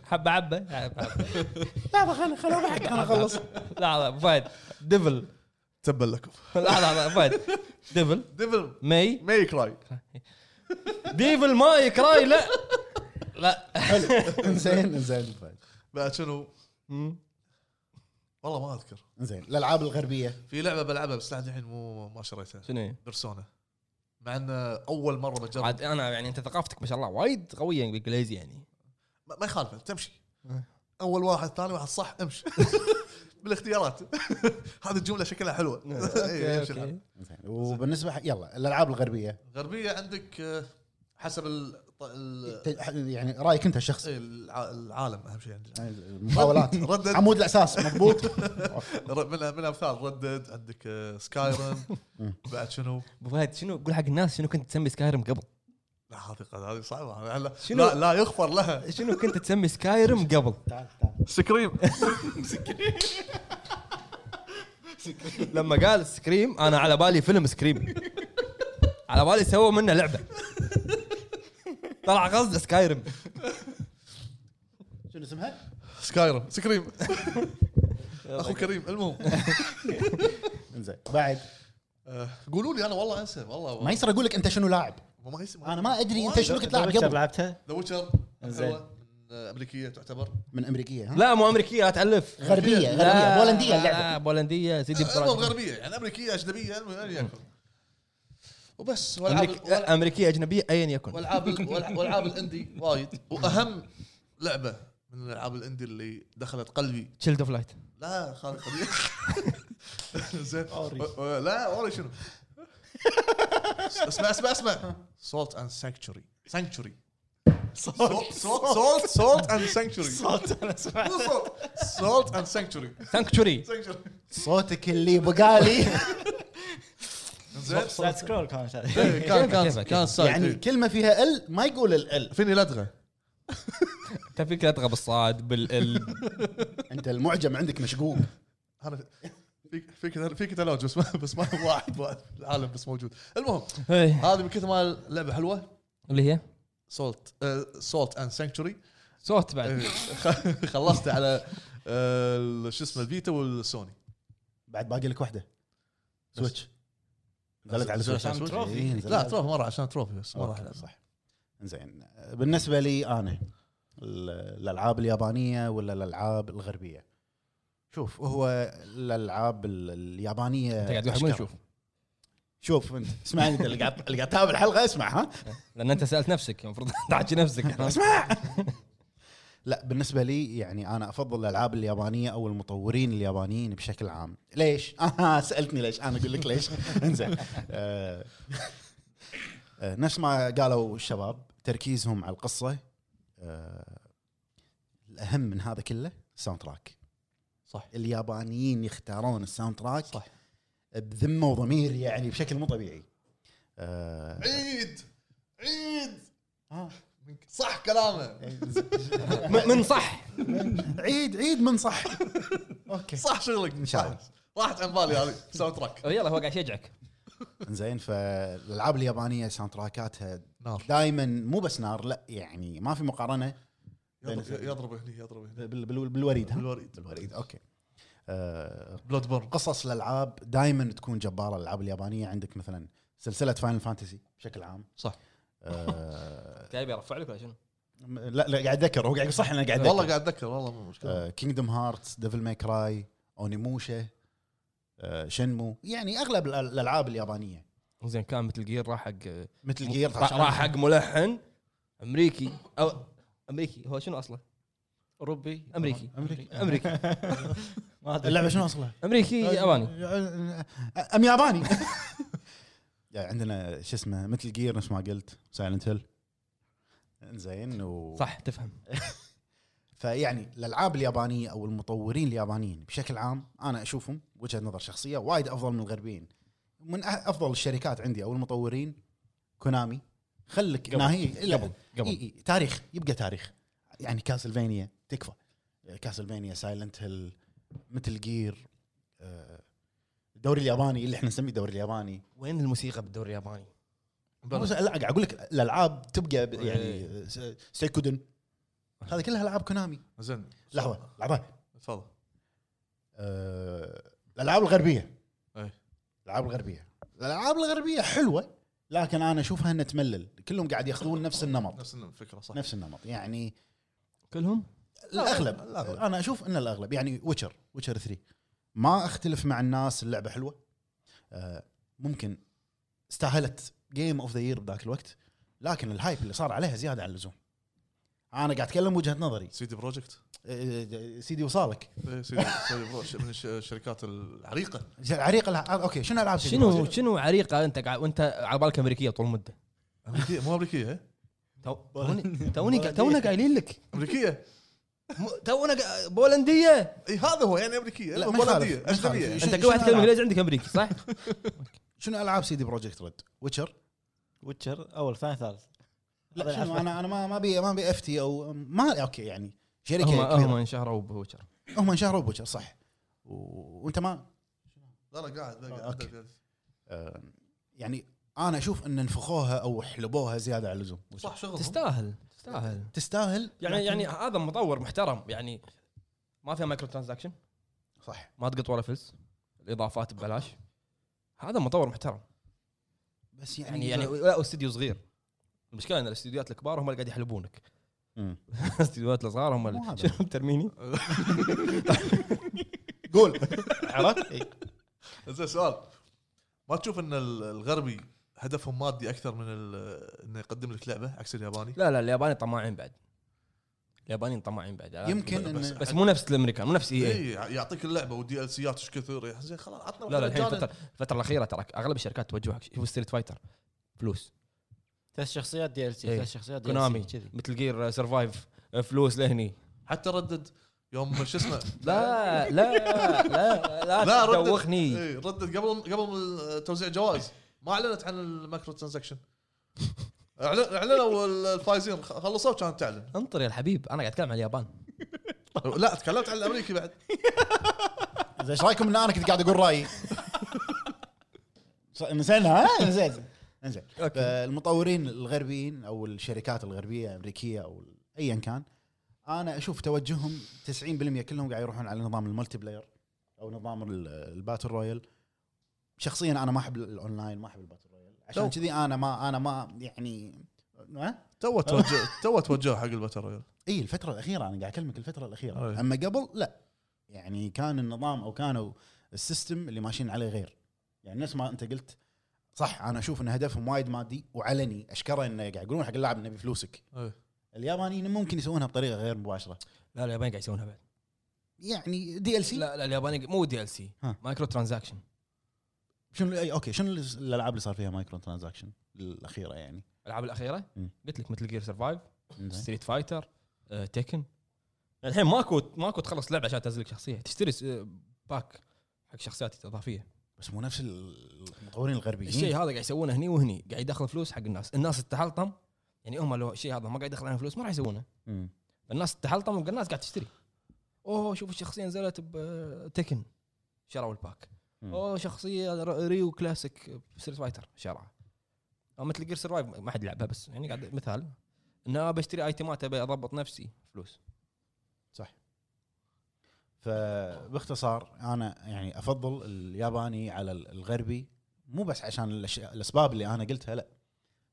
[SPEAKER 1] حبه حبه حبة، حبة.
[SPEAKER 3] لحظه خليني خليني اضحك انا [LAUGHS] اخلص
[SPEAKER 1] لحظه أبو فهد ديفل
[SPEAKER 2] تبا لكم
[SPEAKER 1] لحظه لحظه أبو فهد ديفل
[SPEAKER 2] ديفل
[SPEAKER 1] ماي
[SPEAKER 2] ماي كراي
[SPEAKER 1] [LAUGHS] ديفل ماي كراي لا لا
[SPEAKER 3] انزين انزين طيب. فهد.
[SPEAKER 2] بعد شنو والله ما اذكر
[SPEAKER 3] انزين الالعاب الغربيه
[SPEAKER 2] في لعبه بلعبها بس لحد الحين مو ما شريتها
[SPEAKER 1] شنو هي؟
[SPEAKER 2] بيرسونا مع ان اول مره بجرب
[SPEAKER 1] عاد انا يعني انت ثقافتك ما شاء الله وايد قويه بالانجليزي يعني
[SPEAKER 2] ما ما يخالف أنت تمشي
[SPEAKER 1] إيه.
[SPEAKER 2] اول واحد ثاني واحد صح
[SPEAKER 1] [LAUGHS]
[SPEAKER 2] امشي بالاختيارات [LAUGHS] هذه الجمله شكلها حلوه [LAUGHS] إيه، يمشي الحال.
[SPEAKER 3] إنزين. وبالنسبه حق يلا الالعاب الغربيه
[SPEAKER 2] غربيه عندك آه، حسب ال- ال-
[SPEAKER 3] ت- يعني رايك انت الشخصي
[SPEAKER 2] إيه، الع- العالم اهم شيء عندنا
[SPEAKER 3] المقاولات
[SPEAKER 2] ردد
[SPEAKER 3] عمود الاساس
[SPEAKER 2] [LAUGHS]
[SPEAKER 3] مضبوط
[SPEAKER 2] ر- من من امثال ردد عندك
[SPEAKER 1] [LAUGHS]
[SPEAKER 2] سكايرم بعد شنو؟
[SPEAKER 1] ابو فهد شنو قول حق الناس شنو كنت تسمي سكايرم قبل؟
[SPEAKER 2] لا هذه قد- هذه صعبه لا,
[SPEAKER 1] شنو؟
[SPEAKER 2] لا, لا يغفر لها
[SPEAKER 1] شنو كنت تسمي سكايرم قبل؟
[SPEAKER 2] سكريم
[SPEAKER 1] لما قال سكريم انا على بالي فيلم سكريم على بالي سووا منه لعبه طلع قصد سكايرم
[SPEAKER 3] شنو اسمها؟
[SPEAKER 2] سكايرم
[SPEAKER 3] [LAUGHS]
[SPEAKER 2] سكريم اخو كريم المهم
[SPEAKER 3] انزين بعد
[SPEAKER 2] آه، قولوا لي انا والله انسى والله
[SPEAKER 3] ما يصير اقول لك انت شنو لاعب
[SPEAKER 2] ما يسمع
[SPEAKER 3] انا ما ادري انت شنو كنت لاعب
[SPEAKER 4] The Witcher
[SPEAKER 3] قبل
[SPEAKER 4] لعبتها
[SPEAKER 2] ذا ويتشر
[SPEAKER 4] زين.
[SPEAKER 2] امريكيه تعتبر
[SPEAKER 3] من امريكيه ها؟
[SPEAKER 1] لا مو امريكيه لا تعلف
[SPEAKER 3] غربيه
[SPEAKER 1] لا،
[SPEAKER 3] غربيه بولنديه
[SPEAKER 1] لا،
[SPEAKER 3] اللعبه
[SPEAKER 1] بولنديه سيدي
[SPEAKER 2] المهم
[SPEAKER 1] بتراجع.
[SPEAKER 2] غربيه يعني امريكيه اجنبيه المهم يعني ياكل. وبس
[SPEAKER 1] أمريك-
[SPEAKER 2] والعاب
[SPEAKER 1] امريكيه اجنبيه ايا يكن
[SPEAKER 2] والعاب والعاب الاندي وايد واهم لعبه من الالعاب الاندي اللي دخلت قلبي
[SPEAKER 1] تشيلد اوف لايت
[SPEAKER 2] لا خالد قديم [LAUGHS] زين أ- أ- لا اوري شنو اسمع اسمع اسمع سولت اند سانكتشوري سانكتشوري سولت سولت سولت اند سانكتوري
[SPEAKER 4] صوت انا سمعت
[SPEAKER 2] مو سولت سولت اند سانكتوري
[SPEAKER 1] سانكتوري
[SPEAKER 3] صوتك اللي بقالي
[SPEAKER 2] [LAUGHS] زين إيه،
[SPEAKER 4] سايد سكرول كانت هذه
[SPEAKER 2] كان كان كان
[SPEAKER 3] يعني
[SPEAKER 2] سايد إيه.
[SPEAKER 3] كلمه فيها ال ما يقول الال
[SPEAKER 2] فيني لدغه
[SPEAKER 1] كان فيك لا تغب الصاد بالال
[SPEAKER 3] انت المعجم عندك مشقوق
[SPEAKER 2] انا فيك فيك فيك تلوج بس ما بس ما واحد واحد العالم بس موجود المهم
[SPEAKER 1] إيه.
[SPEAKER 2] هذه من كثر ما اللعبه حلوه
[SPEAKER 1] اللي هي
[SPEAKER 2] سولت سولت اند سانكتوري
[SPEAKER 1] صوت بعد
[SPEAKER 2] إيه. [LAUGHS] خلصت على آه، ال- شو اسمه الفيتا والسوني
[SPEAKER 3] بعد باقي لك واحده سويتش نزلت على
[SPEAKER 2] بس-
[SPEAKER 3] سويتش
[SPEAKER 2] عشان
[SPEAKER 3] سويتش.
[SPEAKER 4] تروفي.
[SPEAKER 3] إيه، نزلت.
[SPEAKER 2] لا تروفي مره عشان تروفي بس ما راح
[SPEAKER 3] أوكي،
[SPEAKER 2] ألعب.
[SPEAKER 3] صح زين بالنسبه لي انا ال- الالعاب اليابانيه ولا الالعاب الغربيه شوف هو الالعاب ال- اليابانيه
[SPEAKER 1] انت قاعد واحد مو
[SPEAKER 3] أشكر.
[SPEAKER 1] يشوف
[SPEAKER 3] شوف انت اسمعني انت اللي قاعد اللي قاعد تتابع الحلقه اسمع ها
[SPEAKER 1] لان انت سالت نفسك المفروض [LAUGHS] تحكي نفسك
[SPEAKER 3] اسمع لا بالنسبه لي يعني انا افضل الالعاب اليابانيه او المطورين اليابانيين بشكل عام ليش [LAUGHS] آه سالتني ليش انا اقول لك ليش [LAUGHS] انزين آه، آه، نفس ما قالوا الشباب تركيزهم على القصه آه، الاهم من هذا كله الساوند تراك
[SPEAKER 2] صح.
[SPEAKER 3] اليابانيين يختارون الساوند تراك
[SPEAKER 2] صح.
[SPEAKER 3] بذمه وضمير يعني بشكل مو طبيعي آه،
[SPEAKER 2] عيد عيد
[SPEAKER 3] آه.
[SPEAKER 2] صح كلامه
[SPEAKER 1] م- من صح
[SPEAKER 3] عيد عيد من [LAUGHS] صح اوكي
[SPEAKER 2] صح شغلك ان
[SPEAKER 3] شاء الله.
[SPEAKER 2] راحت عن بالي هذه ساوند تراك
[SPEAKER 1] يلا هو قاعد يشجعك
[SPEAKER 3] زين فالالعاب اليابانيه ساوند تراكاتها
[SPEAKER 2] نار
[SPEAKER 3] دائما مو بس نار لا يعني ما في مقارنه
[SPEAKER 2] يضرب يضرب هني يضرب هني
[SPEAKER 3] بال- بال- بالوريد ها؟
[SPEAKER 2] بالوريد.
[SPEAKER 3] بالوريد اوكي آه،
[SPEAKER 2] بلود بورن
[SPEAKER 3] قصص الالعاب دائما تكون جباره الالعاب اليابانيه عندك مثلا سلسله فاينل فانتسي بشكل عام
[SPEAKER 2] صح
[SPEAKER 3] آه،
[SPEAKER 1] جايب يرفع لك ولا شنو؟
[SPEAKER 3] م- لا لا قاعد اتذكر هو قاعد يقول صح انا قاعد آه،
[SPEAKER 2] والله
[SPEAKER 3] والله
[SPEAKER 2] قاعد اتذكر والله مو
[SPEAKER 3] أه.
[SPEAKER 2] مشكله
[SPEAKER 3] كينجدم هارتس ديفل ماي كراي اونيموشا آه، شنمو يعني اغلب الأل- الالعاب اليابانيه
[SPEAKER 1] زين كان مثل جير راح حق
[SPEAKER 3] مثل جير
[SPEAKER 1] راح حق ملحن امريكي او امريكي هو شنو اصله؟
[SPEAKER 4] [LAUGHS] اوروبي
[SPEAKER 1] امريكي
[SPEAKER 3] أمريكي.
[SPEAKER 1] امريكي
[SPEAKER 4] [LAUGHS] ما ادري
[SPEAKER 3] اللعبه شنو اصلها؟
[SPEAKER 1] امريكي ياباني
[SPEAKER 3] يعني، ام ياباني [LAUGHS] يعني عندنا شو اسمه مثل جير نفس ما قلت سايلنت هيل زين و
[SPEAKER 1] صح تفهم
[SPEAKER 3] فيعني الالعاب اليابانيه او المطورين اليابانيين بشكل عام انا اشوفهم وجهه نظر شخصيه وايد افضل من الغربيين من أ- افضل الشركات عندي او المطورين كونامي خلك
[SPEAKER 1] قبل.
[SPEAKER 3] ناهي
[SPEAKER 1] قبل. قبل.
[SPEAKER 3] إي إي تاريخ يبقى تاريخ يعني كاسلفينيا تكفى كاسلفينيا سايلنت هيل مثل جير آه، الدوري الياباني اللي احنا نسميه الدوري الياباني
[SPEAKER 1] وين الموسيقى بالدوري الياباني؟
[SPEAKER 3] مو س- لا قاعد اقول لك الالعاب تبقى ب- يعني س- سيكودن هذه كلها العاب كونامي
[SPEAKER 2] زين
[SPEAKER 3] لحظه لحظه
[SPEAKER 2] تفضل
[SPEAKER 3] آه، الالعاب الغربيه
[SPEAKER 2] أي.
[SPEAKER 3] الالعاب الغربيه الالعاب الغربيه حلوه لكن انا اشوفها انها تملل كلهم قاعد ياخذون نفس النمط
[SPEAKER 2] نفس الفكره صح
[SPEAKER 3] نفس النمط يعني
[SPEAKER 1] كلهم؟
[SPEAKER 3] الاغلب
[SPEAKER 2] الأغلب.
[SPEAKER 3] انا اشوف ان الاغلب يعني ويتشر ويتشر 3 ما اختلف مع الناس اللعبه حلوه آه، ممكن استاهلت جيم اوف ذا يير بذاك الوقت لكن الهايب اللي صار عليها زياده عن اللزوم انا قاعد اتكلم وجهه نظري
[SPEAKER 2] سيدي بروجكت
[SPEAKER 3] آه، سيدي وصالك
[SPEAKER 2] إيه، سيدي سيدي بروجكت من الش- الشركات العريقه
[SPEAKER 3] عريق الألعاب- اوكي شنو العاب سيدي
[SPEAKER 1] شنو
[SPEAKER 3] وصالك؟
[SPEAKER 1] شنو عريقه انت قاعد وانت على بالك امريكيه طول المده
[SPEAKER 2] امريكيه مو امريكيه إيه؟
[SPEAKER 1] تو- توني توني تونا قايلين لك
[SPEAKER 2] امريكيه
[SPEAKER 1] م- تونا قا- بولنديه
[SPEAKER 2] اي هذا هو يعني امريكيه
[SPEAKER 3] لا، ما يخالف،
[SPEAKER 2] بولنديه
[SPEAKER 3] ما يخالف.
[SPEAKER 2] اجنبيه
[SPEAKER 3] شو-
[SPEAKER 1] انت كل
[SPEAKER 3] شنو
[SPEAKER 1] واحد يتكلم
[SPEAKER 3] ألعاب؟
[SPEAKER 1] انجليزي عندك امريكي صح؟
[SPEAKER 3] شنو العاب سيدي بروجكت ريد؟ ويتشر؟
[SPEAKER 4] ويتشر اول ثاني ثالث
[SPEAKER 3] لا
[SPEAKER 4] هذا
[SPEAKER 3] شنو
[SPEAKER 4] العفو.
[SPEAKER 3] انا انا ما ما ابي ما ابي اف تي او ما اوكي يعني شركه
[SPEAKER 1] هم
[SPEAKER 3] كبيرة.
[SPEAKER 1] هم انشهروا بوتشر
[SPEAKER 3] هم انشهروا بوتشر صح و- وانت ما
[SPEAKER 2] لا لا قاعد لا،
[SPEAKER 3] أوكي.
[SPEAKER 2] قاعد
[SPEAKER 3] آه، يعني انا اشوف ان نفخوها او حلبوها زياده عن اللزوم
[SPEAKER 2] صح شغل
[SPEAKER 1] تستاهل تستاهل
[SPEAKER 3] تستاهل
[SPEAKER 1] يعني
[SPEAKER 3] لكن-
[SPEAKER 1] يعني هذا مطور محترم يعني ما فيها مايكرو ترانزاكشن
[SPEAKER 3] صح
[SPEAKER 1] ما تقط ولا فلس الاضافات ببلاش هذا مطور محترم
[SPEAKER 3] بس
[SPEAKER 1] يعني
[SPEAKER 3] يعني
[SPEAKER 1] يعني لا استوديو صغير المشكله ان الاستديوهات الكبار هم اللي قاعد يحلبونك [LAUGHS]
[SPEAKER 3] مم.
[SPEAKER 1] الاستديوهات الصغار هم
[SPEAKER 3] مو
[SPEAKER 1] اللي
[SPEAKER 3] هذا.
[SPEAKER 1] شنو ترميني
[SPEAKER 3] قول
[SPEAKER 4] [LAUGHS]
[SPEAKER 3] عرفت؟ إي.
[SPEAKER 2] زين سؤال ما تشوف ان ال- الغربي هدفهم مادي اكثر من ال- انه يقدم لك لعبه عكس الياباني
[SPEAKER 1] لا لا الياباني طماعين بعد اليابانيين طماعين بعد
[SPEAKER 3] يمكن
[SPEAKER 2] بس-
[SPEAKER 3] ان
[SPEAKER 1] بس مو نفس الامريكان مو نفس اي
[SPEAKER 2] اي إيه، يعطيك اللعبه والدي ال سيات ايش كثر يا زين خلاص عطنا
[SPEAKER 1] لا لا
[SPEAKER 2] واحدة
[SPEAKER 1] الحين
[SPEAKER 2] مجانا.
[SPEAKER 1] الفتره الفتره الاخيره ترى اغلب الشركات توجهك شوف ستريت فايتر فلوس
[SPEAKER 4] ثلاث شخصيات دي ال سي
[SPEAKER 1] إيه.
[SPEAKER 4] ثلاث شخصيات دي
[SPEAKER 1] كونامي
[SPEAKER 4] كذي
[SPEAKER 1] مثل جير سرفايف uh, فلوس لهني
[SPEAKER 2] حتى ردد [LAUGHS] يوم شو اسمه
[SPEAKER 1] لا لا لا لا,
[SPEAKER 2] لا ردت
[SPEAKER 1] تدوخني
[SPEAKER 2] إيه، ردت قبل قبل من توزيع الجوائز ما اعلنت عن المايكرو ترانزكشن أعلن- اعلنوا الفايزين خ- خلصوا كانت تعلن
[SPEAKER 1] انطر يا الحبيب انا قاعد اتكلم عن اليابان
[SPEAKER 2] لا تكلمت عن الامريكي بعد
[SPEAKER 3] زين، ايش رايكم ان انا كنت قاعد اقول رايي؟ ص- نسينا ها؟ زين زين المطورين الغربيين او الشركات الغربيه الامريكيه او ايا كان انا اشوف توجههم 90% كلهم قاعد يروحون على نظام الملتي بلاير او نظام ال- الباتل رويال شخصيا انا ما احب الاونلاين ما احب الباتل رويال عشان
[SPEAKER 2] لو-
[SPEAKER 3] كذي انا ما انا ما يعني ها؟
[SPEAKER 2] [LAUGHS] تو توجه تو توجه حق الباتل رويال
[SPEAKER 3] اي الفترة الأخيرة أنا قاعد أكلمك الفترة الأخيرة
[SPEAKER 2] أي.
[SPEAKER 3] أما قبل لا يعني كان النظام أو كانوا السيستم اللي ماشيين عليه غير يعني نفس ما أنت قلت صح أنا أشوف أن هدفهم وايد مادي وعلني أشكره أنه قاعد يقولون حق اللاعب نبي فلوسك
[SPEAKER 2] إيه.
[SPEAKER 3] اليابانيين ممكن يسوونها بطريقة غير مباشرة
[SPEAKER 1] لا اليابان قاعد يسوونها بعد
[SPEAKER 3] يعني دي ال سي
[SPEAKER 1] لا لا اليابان مو دي ال سي
[SPEAKER 3] ها.
[SPEAKER 1] مايكرو ترانزاكشن
[SPEAKER 3] شنو أي- أوكي شنو الس- الألعاب اللي صار فيها مايكرو ترانزاكشن الأخيرة يعني
[SPEAKER 1] الالعاب الاخيره
[SPEAKER 3] مم.
[SPEAKER 1] قلت لك مثل جير سرفايف
[SPEAKER 3] إنزين.
[SPEAKER 1] ستريت فايتر آه، تكن الحين ماكو ماكو تخلص لعبه عشان تنزل لك شخصيه تشتري س- آه، باك حق شخصيات اضافيه
[SPEAKER 3] بس مو نفس ال- المطورين الغربيين
[SPEAKER 1] الشيء هذا قاعد يسوونه هني وهني قاعد يدخل فلوس حق الناس الناس تتحلطم يعني هم لو الشيء هذا ما قاعد يدخل عليهم فلوس ما راح يسوونه
[SPEAKER 3] مم.
[SPEAKER 1] الناس تتحلطم والناس قاعد تشتري اوه شوف الشخصيه نزلت بتكن شروا الباك
[SPEAKER 3] مم.
[SPEAKER 1] اوه شخصيه ر- ريو كلاسيك ستريت فايتر شرعه او مثل جير سرفايف ما حد لعبها بس يعني قاعد مثال ان انا بشتري ايتمات ابي اضبط نفسي فلوس
[SPEAKER 3] فباختصار انا يعني افضل الياباني على ال- الغربي مو بس عشان الأشياء الاسباب اللي انا قلتها لا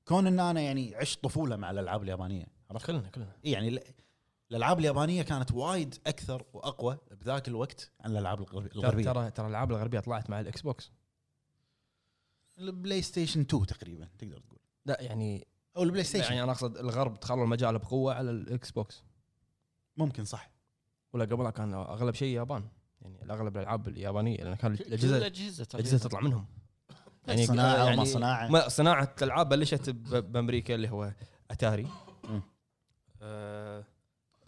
[SPEAKER 3] كون ان انا يعني عشت طفوله مع الالعاب اليابانيه عرفت؟
[SPEAKER 1] كلنا كلنا
[SPEAKER 3] إي يعني ال- الالعاب اليابانيه كانت وايد اكثر واقوى بذاك الوقت عن الالعاب الغرب-
[SPEAKER 1] ترى
[SPEAKER 3] الغربيه
[SPEAKER 1] ترى ترى الالعاب الغربيه طلعت مع الاكس بوكس
[SPEAKER 3] البلاي ستيشن 2 تقريبا تقدر تقول
[SPEAKER 1] لا يعني
[SPEAKER 3] او البلاي ستيشن
[SPEAKER 1] يعني انا اقصد الغرب دخلوا المجال بقوه على الاكس بوكس
[SPEAKER 3] ممكن صح
[SPEAKER 1] ولا قبلها كان اغلب شيء يابان يعني اغلب الالعاب اليابانيه لان كان
[SPEAKER 4] كل
[SPEAKER 1] الاجهزه
[SPEAKER 4] الاجهزه
[SPEAKER 1] الاجهزه
[SPEAKER 4] تقريباً.
[SPEAKER 1] تطلع منهم
[SPEAKER 3] صناعه وما
[SPEAKER 1] يعني
[SPEAKER 3] صناعه
[SPEAKER 1] ما صناعه الالعاب بلشت ب- بامريكا اللي هو اتاري
[SPEAKER 3] مم.
[SPEAKER 1] آه،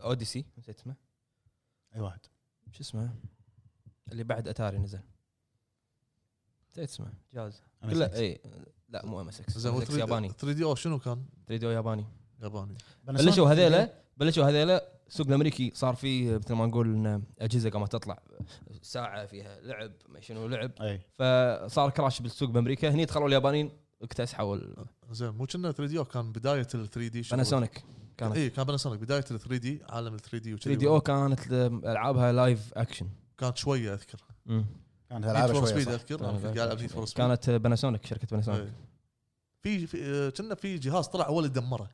[SPEAKER 1] اوديسي نسيت اسمه
[SPEAKER 3] اي واحد
[SPEAKER 1] شو اسمه اللي بعد اتاري نزل نسيت اسمه جهاز كله اي لا مو ام اس اكس
[SPEAKER 2] زين
[SPEAKER 1] 3 ياباني
[SPEAKER 2] 3 دي او شنو كان؟
[SPEAKER 1] 3 دي ياباني
[SPEAKER 2] ياباني
[SPEAKER 1] بلشوا هذيلا بلشوا هذيلا السوق الامريكي صار فيه مثل ما نقول إن اجهزه قامت تطلع ساعه فيها لعب ما شنو لعب
[SPEAKER 3] اي
[SPEAKER 1] فصار كراش بالسوق بامريكا هني دخلوا اليابانيين اكتسحوا ال-
[SPEAKER 2] زين مو كنا 3 دي او كان بدايه ال 3 دي
[SPEAKER 1] باناسونيك كانت
[SPEAKER 2] اي كان باناسونيك بدايه ال 3 دي عالم ال 3 دي
[SPEAKER 1] 3 دي او كانت العابها لايف اكشن
[SPEAKER 2] كانت شويه اذكر
[SPEAKER 3] كانت
[SPEAKER 2] نيد
[SPEAKER 3] العاب
[SPEAKER 2] فور
[SPEAKER 3] شويه
[SPEAKER 2] سبيد
[SPEAKER 3] صح.
[SPEAKER 2] اذكر أنا كنت قاعد العب نيد فور سبيد
[SPEAKER 1] كانت باناسونيك شركه باناسونيك
[SPEAKER 2] إيه. في في آه، كنا في جهاز طلع هو اللي دمره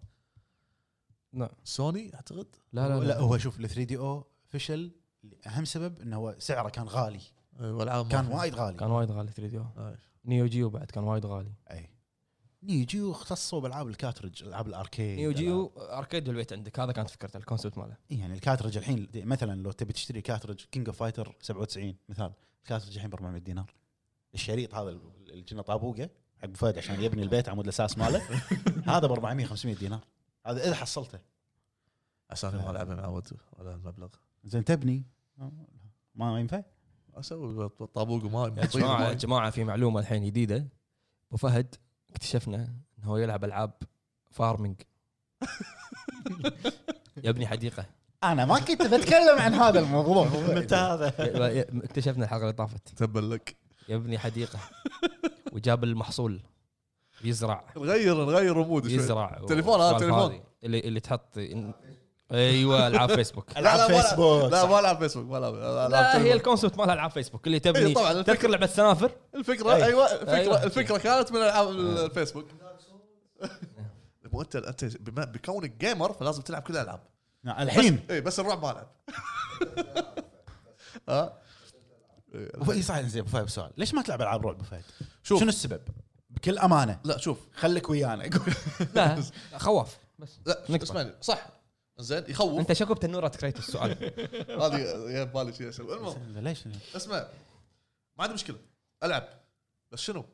[SPEAKER 1] نعم.
[SPEAKER 2] سوني اعتقد
[SPEAKER 1] لا لا
[SPEAKER 3] لا
[SPEAKER 1] لا
[SPEAKER 3] هو شوف ال 3 دي او فشل اهم سبب انه هو سعره كان غالي
[SPEAKER 2] إيه، والعاب ما
[SPEAKER 3] كان
[SPEAKER 2] في.
[SPEAKER 3] وايد غالي
[SPEAKER 1] آه. كان وايد غالي 3 دي او
[SPEAKER 2] إيه.
[SPEAKER 1] نيو جيو بعد كان وايد غالي
[SPEAKER 3] اي نيو جيو إيه. اختصوا بالعاب الكاترج العاب الاركيد
[SPEAKER 1] نيو جيو اركيد بالبيت عندك هذا كانت فكرته الكونسبت ماله
[SPEAKER 3] إي يعني الكاترج الحين دي- مثلا لو تبي تشتري كاترج كينج اوف فايتر 97 مثال الكاترج الحين ب 400 دينار الشريط هذا ال- اللي كنا طابوقه حق أبو فهد عشان يبني البيت عمود
[SPEAKER 1] [LAUGHS]
[SPEAKER 3] الاساس ماله هذا ب 400 500 دينار هذا اذا حصلته
[SPEAKER 2] عشان
[SPEAKER 1] نعم.
[SPEAKER 2] ما العبها مع ود ولا المبلغ
[SPEAKER 3] زين تبني ما ينفع
[SPEAKER 2] اسوي طابوق وماء
[SPEAKER 1] يا جماعه يا
[SPEAKER 2] مطير
[SPEAKER 1] جماعه في معلومه الحين جديده ابو فهد اكتشفنا انه هو يلعب العاب [LAUGHS] فارمنج يبني حديقه
[SPEAKER 3] انا ما كنت بتكلم عن
[SPEAKER 1] [LAUGHS]
[SPEAKER 3] هذا الموضوع متى هذا
[SPEAKER 1] ي- ي- اكتشفنا الحلقه اللي طافت
[SPEAKER 2] تبا لك
[SPEAKER 1] يبني حديقه وجاب المحصول يزرع
[SPEAKER 2] نغير نغير امود شوي
[SPEAKER 1] يزرع
[SPEAKER 2] تليفون، هذا
[SPEAKER 1] والسوالف
[SPEAKER 2] تليفون.
[SPEAKER 1] هذه. اللي اللي تحط إن- ايوه العاب [LAUGHS] فيسبوك
[SPEAKER 2] لا،
[SPEAKER 3] العاب
[SPEAKER 2] ولا-
[SPEAKER 3] فيسبوك
[SPEAKER 2] لا ما العب فيسبوك ما العب ألعب
[SPEAKER 1] لا هي
[SPEAKER 2] تليفون.
[SPEAKER 1] الكونسبت مال العاب فيسبوك اللي
[SPEAKER 2] إيه
[SPEAKER 1] تبني
[SPEAKER 2] طبعاً، الفكرة-
[SPEAKER 1] تذكر لعبه سنافر
[SPEAKER 2] الفكره
[SPEAKER 1] أي.
[SPEAKER 2] ايوه الفكره
[SPEAKER 1] أيوة.
[SPEAKER 2] الفكره كانت من العاب الفيسبوك [LAUGHS] مو انت انت بما- بكونك جيمر فلازم تلعب كل الالعاب
[SPEAKER 3] نعم، الحين
[SPEAKER 2] اي إيه، بس الرعب ما [LAUGHS] العب ها
[SPEAKER 3] أبو- اي صح إيه، زين ابو فهد سؤال ليش ما تلعب العاب رعب ابو فهد؟
[SPEAKER 2] شوف.
[SPEAKER 3] شنو السبب؟ بكل امانه
[SPEAKER 2] لا شوف
[SPEAKER 3] خليك ويانا [LAUGHS]
[SPEAKER 2] [LAUGHS]
[SPEAKER 1] لا خواف بس
[SPEAKER 2] لا
[SPEAKER 1] نكتة.
[SPEAKER 2] اسمعني صح زين يخوف
[SPEAKER 1] انت شكو بتنوره كريت السؤال
[SPEAKER 2] هذه يا بالي شيء اسوي المهم
[SPEAKER 3] ليش؟
[SPEAKER 2] اسمع ما عندي مشكله العب بس شنو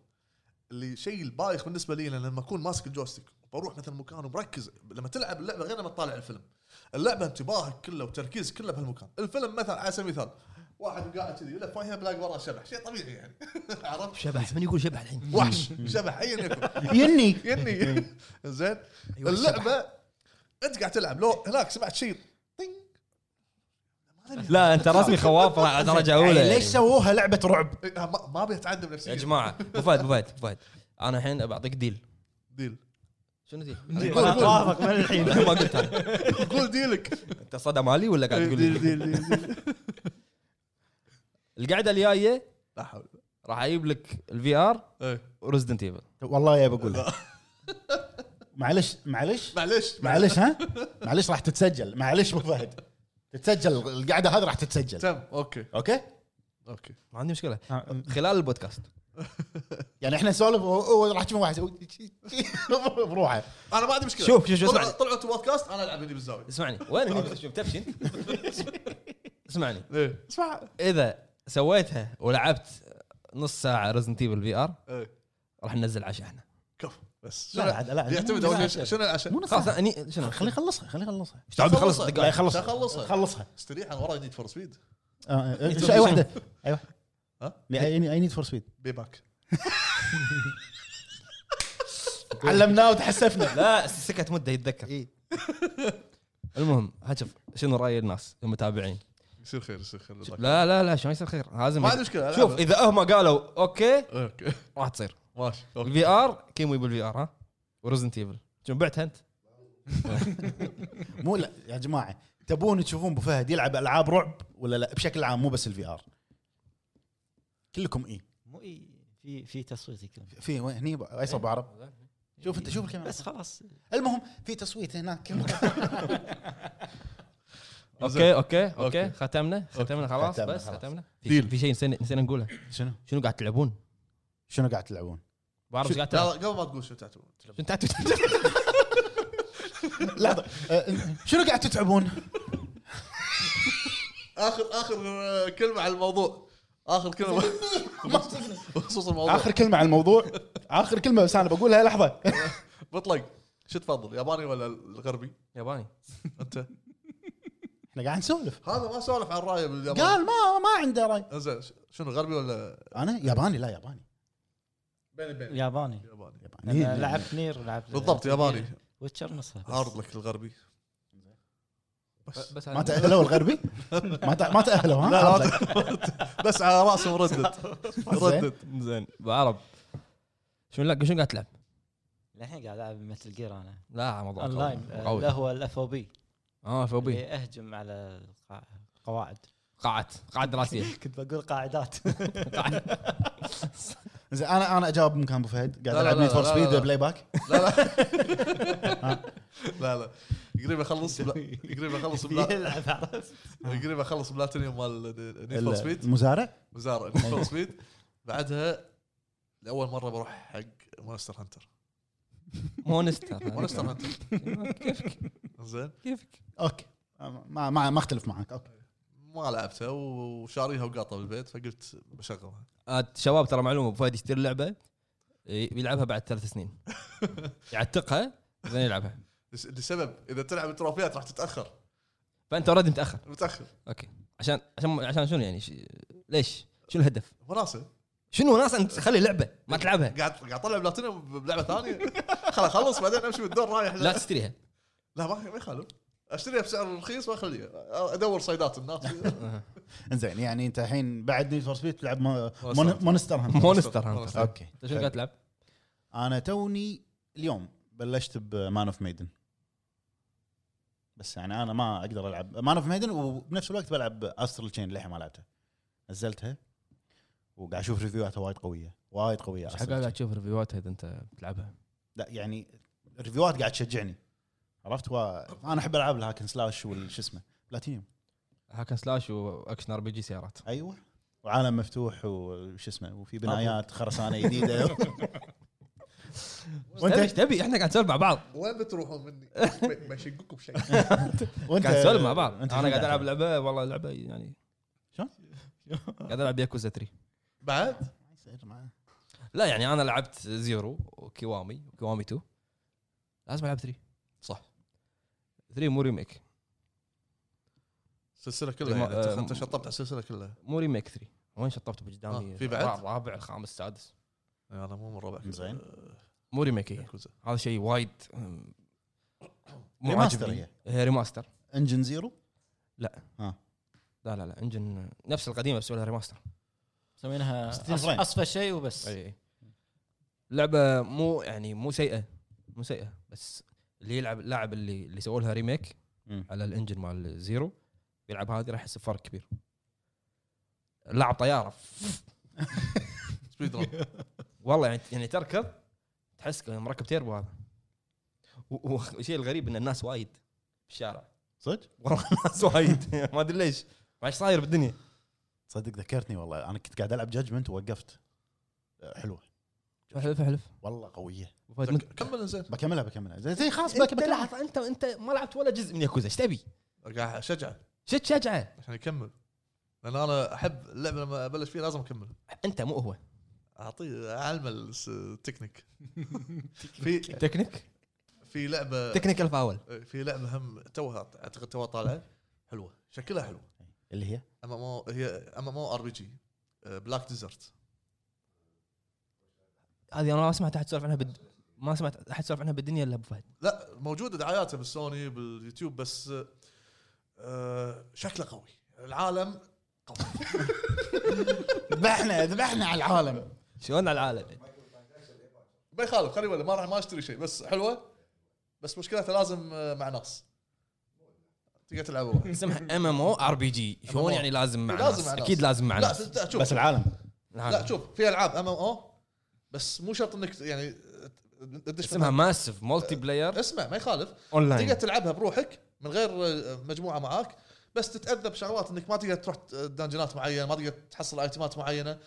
[SPEAKER 2] اللي شيء البايخ بالنسبه لي لأن لما اكون ماسك الجويستيك بروح مثلا مكان ومركز لما تلعب اللعبه غير لما تطالع الفيلم اللعبه انتباهك كله وتركيزك كله بهالمكان الفيلم مثلا على سبيل المثال واحد قاعد كذي يلف وهنا بلاقي وراه شبح شيء طبيعي يعني [LAUGHS] عرفت
[SPEAKER 1] شبح من يقول شبح الحين
[SPEAKER 2] وحش شبح ايا يكن
[SPEAKER 3] يني
[SPEAKER 2] يني [LAUGHS] زين
[SPEAKER 1] أيوة،
[SPEAKER 2] اللعبه انت قاعد تلعب لو هناك سمعت شيء طينج. ما أدري.
[SPEAKER 1] لا انت رسمي خواف على درجه اولى
[SPEAKER 3] يعني
[SPEAKER 1] يعني.
[SPEAKER 3] ليش سووها لعبه رعب؟
[SPEAKER 2] إيه، ما- ما ابي اتعدم نفسيا
[SPEAKER 1] يا جماعه ابو فهد ابو فهد ابو فهد انا الحين بعطيك ديل
[SPEAKER 2] ديل
[SPEAKER 1] شنو ديل؟ [LAUGHS]
[SPEAKER 2] قول، قول.
[SPEAKER 4] توافق من الحين
[SPEAKER 1] ما قلت أنا.
[SPEAKER 2] قول ديلك
[SPEAKER 1] انت صدى مالي ولا قاعد
[SPEAKER 2] ديل
[SPEAKER 1] تقول
[SPEAKER 2] ديل
[SPEAKER 1] لي؟
[SPEAKER 2] ديل ديل.
[SPEAKER 1] القعده الجايه
[SPEAKER 2] لا حول
[SPEAKER 1] راح اجيب لك الفي ار
[SPEAKER 2] إيه.
[SPEAKER 1] وريزدنت ايفل
[SPEAKER 3] والله يا بقولها معلش معلش
[SPEAKER 2] معليش
[SPEAKER 3] معلش ها معلش راح تتسجل معلش ابو فهد تتسجل القعده هذه راح تتسجل
[SPEAKER 2] تم اوكي
[SPEAKER 3] اوكي
[SPEAKER 2] اوكي
[SPEAKER 1] ما عندي مشكله خلال البودكاست
[SPEAKER 3] يعني احنا نسولف هو- هو راح تشوف واحد [LAUGHS] يسوي بروحه
[SPEAKER 2] انا ما عندي مشكله
[SPEAKER 1] شوف، شوف، شوف،
[SPEAKER 2] طلعوا-
[SPEAKER 1] اسمعني.
[SPEAKER 2] طلعوا انتم بودكاست انا العب هني بالزاويه
[SPEAKER 1] اسمعني وين هني؟ شوف تبشن [LAUGHS] اسمعني
[SPEAKER 2] ايه
[SPEAKER 3] اسمع
[SPEAKER 1] اذا سويتها ولعبت نص ساعه ريزدنت ايفل في ار
[SPEAKER 2] ايه
[SPEAKER 1] راح ننزل عشاء احنا
[SPEAKER 2] كفو بس
[SPEAKER 3] لا، لا، عاد- لا، عاد.
[SPEAKER 2] يعتمد اول شيء شنو العشاء؟
[SPEAKER 3] مو نص
[SPEAKER 1] خلاص
[SPEAKER 3] ساعة.
[SPEAKER 1] اني شنو
[SPEAKER 3] خليه يخلصها خليه يخلصها
[SPEAKER 1] ايش تعود خلص
[SPEAKER 3] لا
[SPEAKER 1] دقائق
[SPEAKER 3] يخلصها
[SPEAKER 2] خلصها.
[SPEAKER 3] خلصها
[SPEAKER 2] استريح انا ورا نيد فور سبيد
[SPEAKER 3] آه، آه، اي واحده اي واحده
[SPEAKER 2] ها؟
[SPEAKER 3] اي نيد فور سبيد
[SPEAKER 2] بي باك
[SPEAKER 3] [LAUGHS] علمناه وتحسفنا
[SPEAKER 1] لا سكت مده يتذكر
[SPEAKER 3] اي
[SPEAKER 1] [LAUGHS] المهم ها شوف شنو راي الناس المتابعين
[SPEAKER 2] يصير خير يصير خير الله يكرمك.
[SPEAKER 1] لا لا لا شلون يصير خير لازم
[SPEAKER 2] ما عندي مشكله
[SPEAKER 1] شوف
[SPEAKER 2] ألعب.
[SPEAKER 1] اذا هم قالوا اوكي
[SPEAKER 2] اوكي
[SPEAKER 1] راح تصير
[SPEAKER 2] [LAUGHS] ماشي أوكي.
[SPEAKER 1] الفي ار كيمو بالفي ار ها وريزنت ايفل شنو بعتها انت؟
[SPEAKER 3] مو لا يا جماعه تبون تشوفون ابو فهد يلعب العاب رعب ولا لا بشكل عام مو بس الفي ار كلكم اي
[SPEAKER 4] مو إي، في في تصويت يكون.
[SPEAKER 3] في وين هني ب- ايسر بعرب شوف انت شوف الكاميرا
[SPEAKER 4] بس خلاص
[SPEAKER 3] المهم في تصويت هناك
[SPEAKER 1] اوكي اوكي
[SPEAKER 2] أوكي.
[SPEAKER 1] اوكي ختمنا ختمنا خلاص
[SPEAKER 3] ختمنا
[SPEAKER 1] بس
[SPEAKER 3] خلاص.
[SPEAKER 1] ختمنا في
[SPEAKER 2] ديل.
[SPEAKER 1] في شيء نسينا نسينا نقوله
[SPEAKER 3] شنو
[SPEAKER 1] شنو قاعد تلعبون؟
[SPEAKER 3] شنو قاعد تلعبون
[SPEAKER 1] بعرف
[SPEAKER 2] شوف،
[SPEAKER 1] ايش قاعد
[SPEAKER 2] لا،
[SPEAKER 1] تلعب
[SPEAKER 2] لا، قبل ما تقول شو تعتبر
[SPEAKER 1] شنو قاعد تلعب؟
[SPEAKER 3] لحظه آه، شنو قاعد تتعبون [LAUGHS]
[SPEAKER 2] اخر اخر آه، كلمه على الموضوع اخر [LAUGHS] كلمه بخصوص الموضوع
[SPEAKER 3] اخر كلمه على الموضوع اخر كلمه بس انا بقولها لحظه
[SPEAKER 2] مطلق شو تفضل ياباني ولا الغربي
[SPEAKER 1] ياباني
[SPEAKER 2] انت
[SPEAKER 3] احنا قاعد نسولف
[SPEAKER 2] هذا ما سولف عن رايه باليابان
[SPEAKER 3] قال ما ما عنده راي
[SPEAKER 2] انزين ش- شنو غربي ولا
[SPEAKER 3] انا ياباني لا ياباني
[SPEAKER 2] بيني بيني
[SPEAKER 4] ياباني
[SPEAKER 2] ياباني
[SPEAKER 4] لأن لعبت نير
[SPEAKER 2] [LAUGHS]
[SPEAKER 4] ولعبت
[SPEAKER 2] بالضبط ياباني
[SPEAKER 4] ويتشر نصها بس.
[SPEAKER 2] هارد لك الغربي
[SPEAKER 1] بس
[SPEAKER 3] ما
[SPEAKER 1] أنا-
[SPEAKER 3] تاهلوا الغربي ما تأ- ما تاهلوا ها
[SPEAKER 2] لا لا بس على راسه مردد مردد
[SPEAKER 1] زين بعرب شنو لا شنو قاعد تلعب؟
[SPEAKER 4] للحين قاعد العب مثل جير انا
[SPEAKER 1] لا موضوع
[SPEAKER 4] اونلاين
[SPEAKER 1] قوي. قوي
[SPEAKER 4] اللي هو الاف او بي
[SPEAKER 1] اه
[SPEAKER 4] إيه.
[SPEAKER 1] فوبي
[SPEAKER 4] اهجم على القا- قواعد
[SPEAKER 1] قاعات قاعات دراسيه
[SPEAKER 4] [LAUGHS] كنت بقول قاعدات
[SPEAKER 1] قاعات.
[SPEAKER 3] زين انا انا اجاوب مكان ابو فهد قاعد
[SPEAKER 2] لا،
[SPEAKER 3] العب
[SPEAKER 2] لا،
[SPEAKER 3] نيد فور
[SPEAKER 2] لا، لا،
[SPEAKER 3] سبيد
[SPEAKER 2] لا.
[SPEAKER 3] بلاي باك
[SPEAKER 2] لا لا لا لا قريب اخلص
[SPEAKER 4] [LAUGHS]
[SPEAKER 2] بلا- قريب اخلص بلا-
[SPEAKER 4] يلعب عرفت
[SPEAKER 2] قريب اخلص بلاتينيوم مال نيد فور سبيد
[SPEAKER 3] المزارع
[SPEAKER 2] مزارع نيد فور سبيد بعدها لاول مره بروح حق مونستر هانتر
[SPEAKER 1] مونستر
[SPEAKER 2] مونستر
[SPEAKER 1] [LAUGHS]
[SPEAKER 2] هانتر
[SPEAKER 1] كيفك
[SPEAKER 2] زين
[SPEAKER 1] كيفك
[SPEAKER 3] اوكي ما ما ما اختلف معك اوكي
[SPEAKER 2] ما لعبتها وشاريها وقاطه بالبيت فقلت بشغلها
[SPEAKER 1] آه، شباب ترى معلومه أبو فهد يشتري لعبه ي- يلعبها بعد ثلاث [LAUGHS] سنين يعتقها زين يلعبها
[SPEAKER 2] لس- لسبب اذا تلعب التروفيات راح تتاخر
[SPEAKER 1] فانت اوريدي متاخر
[SPEAKER 2] متاخر
[SPEAKER 1] اوكي عشان عشان عشان شنو يعني ش... ليش؟ شنو الهدف؟
[SPEAKER 2] مناسب
[SPEAKER 1] شنو ناس انت تخلي لعبه ما تلعبها
[SPEAKER 2] قاعد قاعد اطلع بلاتينيوم بلعبه ثانيه خلاص اخلص بعدين امشي بالدور رايح
[SPEAKER 1] لا [LAUGHS] تشتريها
[SPEAKER 2] لا ما ما يخالف اشتريها بسعر رخيص واخليها ادور صيدات الناس
[SPEAKER 3] انزين يعني انت الحين بعد نيد فور سبيد تلعب مو-
[SPEAKER 2] مونستر
[SPEAKER 3] مون-
[SPEAKER 2] هانتر.
[SPEAKER 3] مونستر هانتر
[SPEAKER 1] مونستر هانتر
[SPEAKER 3] اوكي
[SPEAKER 1] انت شنو قاعد تلعب؟
[SPEAKER 3] انا توني اليوم بلشت بمان اوف ميدن بس يعني انا ما اقدر العب مان اوف ميدن وبنفس الوقت بلعب استرال تشين للحين ما لعبتها نزلتها وقاعد اشوف ريفيوهاتها وايد قويه وايد قويه
[SPEAKER 1] ايش
[SPEAKER 3] Astral
[SPEAKER 1] حق قاعد
[SPEAKER 3] Chain.
[SPEAKER 1] تشوف ريفيوهات اذا انت بتلعبها
[SPEAKER 3] لا يعني ريفيوهات قاعد تشجعني عرفت و... انا احب العاب الهاكن سلاش والش اسمه بلاتينيوم
[SPEAKER 1] هاكن سلاش واكشن ار بي جي سيارات
[SPEAKER 3] ايوه وعالم مفتوح وش اسمه وفي بنايات خرسانه
[SPEAKER 1] [LAUGHS]
[SPEAKER 3] جديده
[SPEAKER 1] وانت ايش تبي؟ احنا قاعد نسولف مع بعض
[SPEAKER 2] [LAUGHS] وين بتروحون مني؟ بشقكم شيء
[SPEAKER 3] وانت
[SPEAKER 1] قاعد نسولف مع بعض
[SPEAKER 3] أنت
[SPEAKER 1] انا
[SPEAKER 3] شو
[SPEAKER 1] قاعد [LAUGHS] العب لعبه والله لعبه يعني
[SPEAKER 3] شلون؟
[SPEAKER 1] قاعد العب ياكوزا 3
[SPEAKER 2] بعد
[SPEAKER 3] يصير معاه.
[SPEAKER 1] لا يعني انا لعبت زيرو وكيوامي وكيوامي 2 لازم العب 3
[SPEAKER 2] صح
[SPEAKER 1] 3 مو ريميك
[SPEAKER 2] السلسله كلها
[SPEAKER 1] ما-
[SPEAKER 2] يعني
[SPEAKER 1] آه،
[SPEAKER 2] أنت- انت شطبت على السلسله كلها
[SPEAKER 1] مو ريميك 3 وين شطبت بقدامي
[SPEAKER 2] آه، في بعد؟
[SPEAKER 1] الرابع الخامس السادس
[SPEAKER 2] يعني انا مو من ربع
[SPEAKER 3] زين.
[SPEAKER 1] مو ريميك هي
[SPEAKER 2] ياكوزا.
[SPEAKER 1] هذا شيء وايد أم، مو
[SPEAKER 3] ريماستر
[SPEAKER 1] عاجبني. إيه،
[SPEAKER 3] هي.
[SPEAKER 1] هي ريماستر
[SPEAKER 3] انجن زيرو
[SPEAKER 1] لا لا لا انجن نفس القديمه بس لها ريماستر
[SPEAKER 4] مسمينها
[SPEAKER 3] ستيل
[SPEAKER 4] أص-
[SPEAKER 3] فريم.
[SPEAKER 4] اصفى شيء وبس
[SPEAKER 1] اي اي لعبه إيه، مو يعني مو سيئه مو سيئه بس اللي يلعب اللاعب اللي اللي سووا لها ريميك
[SPEAKER 3] مم.
[SPEAKER 1] على الانجن مال زيرو يلعب هذه راح يحس بفرق كبير لاعب طياره
[SPEAKER 2] سبيد ران
[SPEAKER 1] والله يعني يعني تركض تحس كأنه مركب تيربو هذا و- و- والشيء الغريب ان الناس وايد في الشارع [LAUGHS]
[SPEAKER 3] صدق؟
[SPEAKER 1] والله الناس وايد [LAUGHS] ما ادري ليش ما ايش صاير بالدنيا
[SPEAKER 3] صدق ذكرتني والله انا كنت قاعد العب جادجمنت ووقفت آه، حلوه
[SPEAKER 1] احلف احلف
[SPEAKER 3] والله قويه
[SPEAKER 2] كمل زين
[SPEAKER 3] بكملها بكملها زين زين خلاص بك
[SPEAKER 1] انت
[SPEAKER 3] بكملها
[SPEAKER 1] لحظه انت انت ما لعبت ولا جزء من ياكوزا ايش تبي؟
[SPEAKER 2] قاعد اشجعه
[SPEAKER 1] شو تشجعه؟
[SPEAKER 2] عشان يكمل لان انا احب اللعبه لما ابلش فيها لازم اكمل
[SPEAKER 1] انت مو هو
[SPEAKER 2] اعطيه اعلمه الس- التكنيك في
[SPEAKER 1] تكنيك
[SPEAKER 2] في لعبه
[SPEAKER 1] تكنيكال فاول
[SPEAKER 2] في لعبه هم توها اعتقد توها طالعه حلوه شكلها حلو
[SPEAKER 3] اللي هي
[SPEAKER 2] ام ام او هي ام ام او ار بي جي بلاك ديزرت
[SPEAKER 1] هذه انا ما سمعت احد سولف عنها بد... ما سمعت احد سولف عنها بالدنيا الا ابو فهد
[SPEAKER 2] لا موجوده دعاياته بالسوني باليوتيوب بس آه، شكله قوي العالم قوي
[SPEAKER 3] ذبحنا ذبحنا على العالم
[SPEAKER 1] شلون على العالم
[SPEAKER 2] ما يخالف خلي ولا ما راح ما اشتري شيء بس حلوه بس مشكلتها لازم آه، مع ناس تقدر تلعب واحد.
[SPEAKER 1] اسمها ام ام او ار بي جي شلون
[SPEAKER 2] MMO.
[SPEAKER 1] يعني لازم مع
[SPEAKER 2] لازم
[SPEAKER 1] ناس
[SPEAKER 2] مع ناس.
[SPEAKER 1] اكيد لازم نعم. مع
[SPEAKER 2] لا
[SPEAKER 1] ناس
[SPEAKER 2] ت- ت- شوف
[SPEAKER 3] بس العالم
[SPEAKER 2] لا شوف في العاب ام ام او بس مو شرط انك يعني تدش
[SPEAKER 1] اسمها ماسف مولتي بلاير
[SPEAKER 2] اسمع ما يخالف
[SPEAKER 1] اونلاين
[SPEAKER 2] تقدر تلعبها بروحك من غير آه، مجموعه معاك بس تتاذى بشغلات انك ما تقدر تروح آه، دنجنات معينه ما تقدر تحصل ايتمات معينه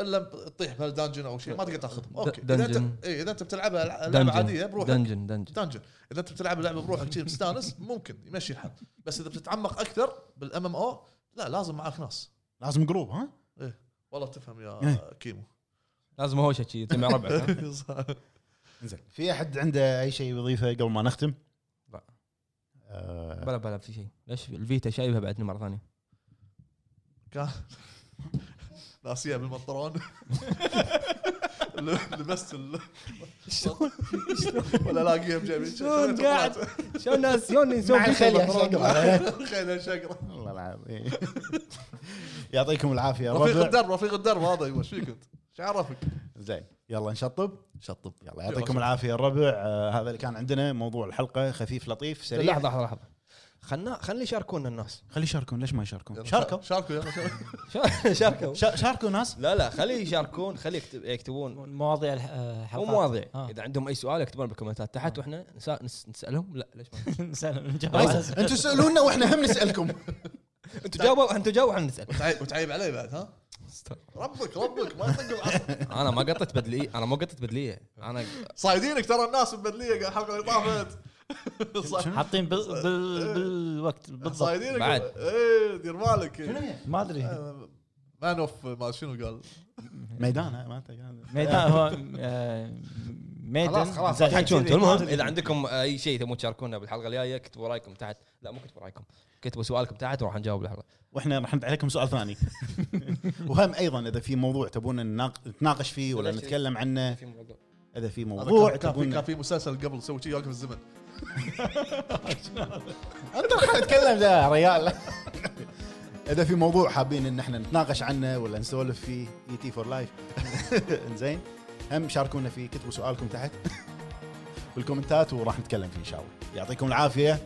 [SPEAKER 2] الا ب- تطيح بهالدنجن او شيء ما تقدر تاخذها اوكي اذا
[SPEAKER 1] دنجن.
[SPEAKER 2] انت إيه، اذا انت بتلعبها لعبه عاديه
[SPEAKER 1] دنجن
[SPEAKER 2] بروحك
[SPEAKER 1] دنجن دنجن
[SPEAKER 2] دنجن اذا انت بتلعب لعبه بروحك شيء مستانس [LAUGHS] ممكن يمشي الحال بس اذا بتتعمق اكثر بالام ام او لا لازم معاك ناس
[SPEAKER 3] [LAUGHS] لازم جروب ها
[SPEAKER 2] والله تفهم يا
[SPEAKER 3] إيه.
[SPEAKER 2] كيمو [LAUGHS]
[SPEAKER 1] لازم هوشه شي يجمع ربعك
[SPEAKER 3] زين في احد عنده اي شيء يضيفه قبل ما نختم؟
[SPEAKER 1] لا.
[SPEAKER 3] آه،
[SPEAKER 1] بلا بلا في شيء ليش الفيتا شايبها بعدني مره ثانيه
[SPEAKER 2] كان ناسيه [LAUGHS] بالمطرون لبست ال- ولا لاقيها بجيبي
[SPEAKER 1] شلون قاعد شلون ناس شلون ينسون
[SPEAKER 3] مع
[SPEAKER 1] فيتا
[SPEAKER 3] الخيل يا
[SPEAKER 1] بالمطرون؟
[SPEAKER 3] شقر.
[SPEAKER 2] خيل شقره
[SPEAKER 3] والله العظيم [LAUGHS] يعطيكم العافيه
[SPEAKER 2] رفيق
[SPEAKER 3] ربع
[SPEAKER 2] الدرب رفيق الدرب هذا ايوه ايش فيك انت؟ ايش عرفك؟
[SPEAKER 3] زين يلا نشطب
[SPEAKER 2] شطب
[SPEAKER 3] يلا يعطيكم العافيه الربع آه، هذا اللي كان عندنا موضوع الحلقه خفيف لطيف سريع
[SPEAKER 1] لحظه لحظه لحظه خلنا خلي يشاركونا الناس
[SPEAKER 3] خلي يشاركون ليش ما يشاركون
[SPEAKER 2] شاركوا شاركوا
[SPEAKER 3] شاركوا
[SPEAKER 2] يلا شاركوا.
[SPEAKER 1] شا- [LAUGHS] شاركوا
[SPEAKER 3] شا- شاركوا ناس
[SPEAKER 1] لا لا خلي يشاركون خلي يكتب- يكتبون
[SPEAKER 4] مواضيع الح- الحلقات
[SPEAKER 1] مو مواضيع
[SPEAKER 4] آه.
[SPEAKER 1] [LAUGHS] اذا عندهم اي سؤال يكتبون بالكومنتات تحت واحنا نسا- نس- نسالهم لا ليش ما
[SPEAKER 4] [LAUGHS] نسأل- نجاوب. [LAUGHS]
[SPEAKER 3] انتم سالونا واحنا هم نسالكم
[SPEAKER 1] انتوا جاوبوا انتوا جاوبوا احنا نسال
[SPEAKER 2] وتعيب- وتعيب علي بعد ها؟ ربك ربك ما يطق بعصا.
[SPEAKER 1] انا ما قطت بدليه انا ما قطت بدليه انا
[SPEAKER 2] صايدينك ترى الناس ببدليه قاعد الحلقه اللي طافت صا-
[SPEAKER 4] حاطين بال... بال... بالوقت بالضبط
[SPEAKER 2] صايدينك
[SPEAKER 1] بعد.
[SPEAKER 2] ايه دير بالك
[SPEAKER 4] ما ادري
[SPEAKER 2] مان اوف ما شنو قال
[SPEAKER 3] ميدان ما أدري.
[SPEAKER 4] ميدان هو آه، ميدان
[SPEAKER 1] خلاص خلاص
[SPEAKER 4] زين.
[SPEAKER 1] تحجون المهم اذا عندكم اي شيء تبون تشاركونا بالحلقه الجايه كتبوا رايكم تحت لا مو كتبوا رايكم كتبوا سؤالكم تحت وراح نجاوب الحلقه
[SPEAKER 3] واحنا راح نرد عليكم سؤال ثاني [LAUGHS] وهم ايضا اذا في موضوع تبون نناق- نتناقش فيه ولا نتكلم عنه
[SPEAKER 1] في موضوع
[SPEAKER 3] اذا في
[SPEAKER 2] هذا
[SPEAKER 3] موضوع
[SPEAKER 2] كان- كان في
[SPEAKER 3] تبون
[SPEAKER 2] كان في مسلسل قبل سوي شيء يوقف الزمن
[SPEAKER 3] انت راح تتكلم ذا يا [LAUGHS] ريال اذا في موضوع حابين ان احنا نتناقش عنه ولا نسولف فيه E اي تي فور لايف [LAUGHS] زين هم شاركونا فيه كتبوا سؤالكم تحت [LAUGHS] بالكومنتات وراح نتكلم فيه ان شاء الله يعطيكم العافيه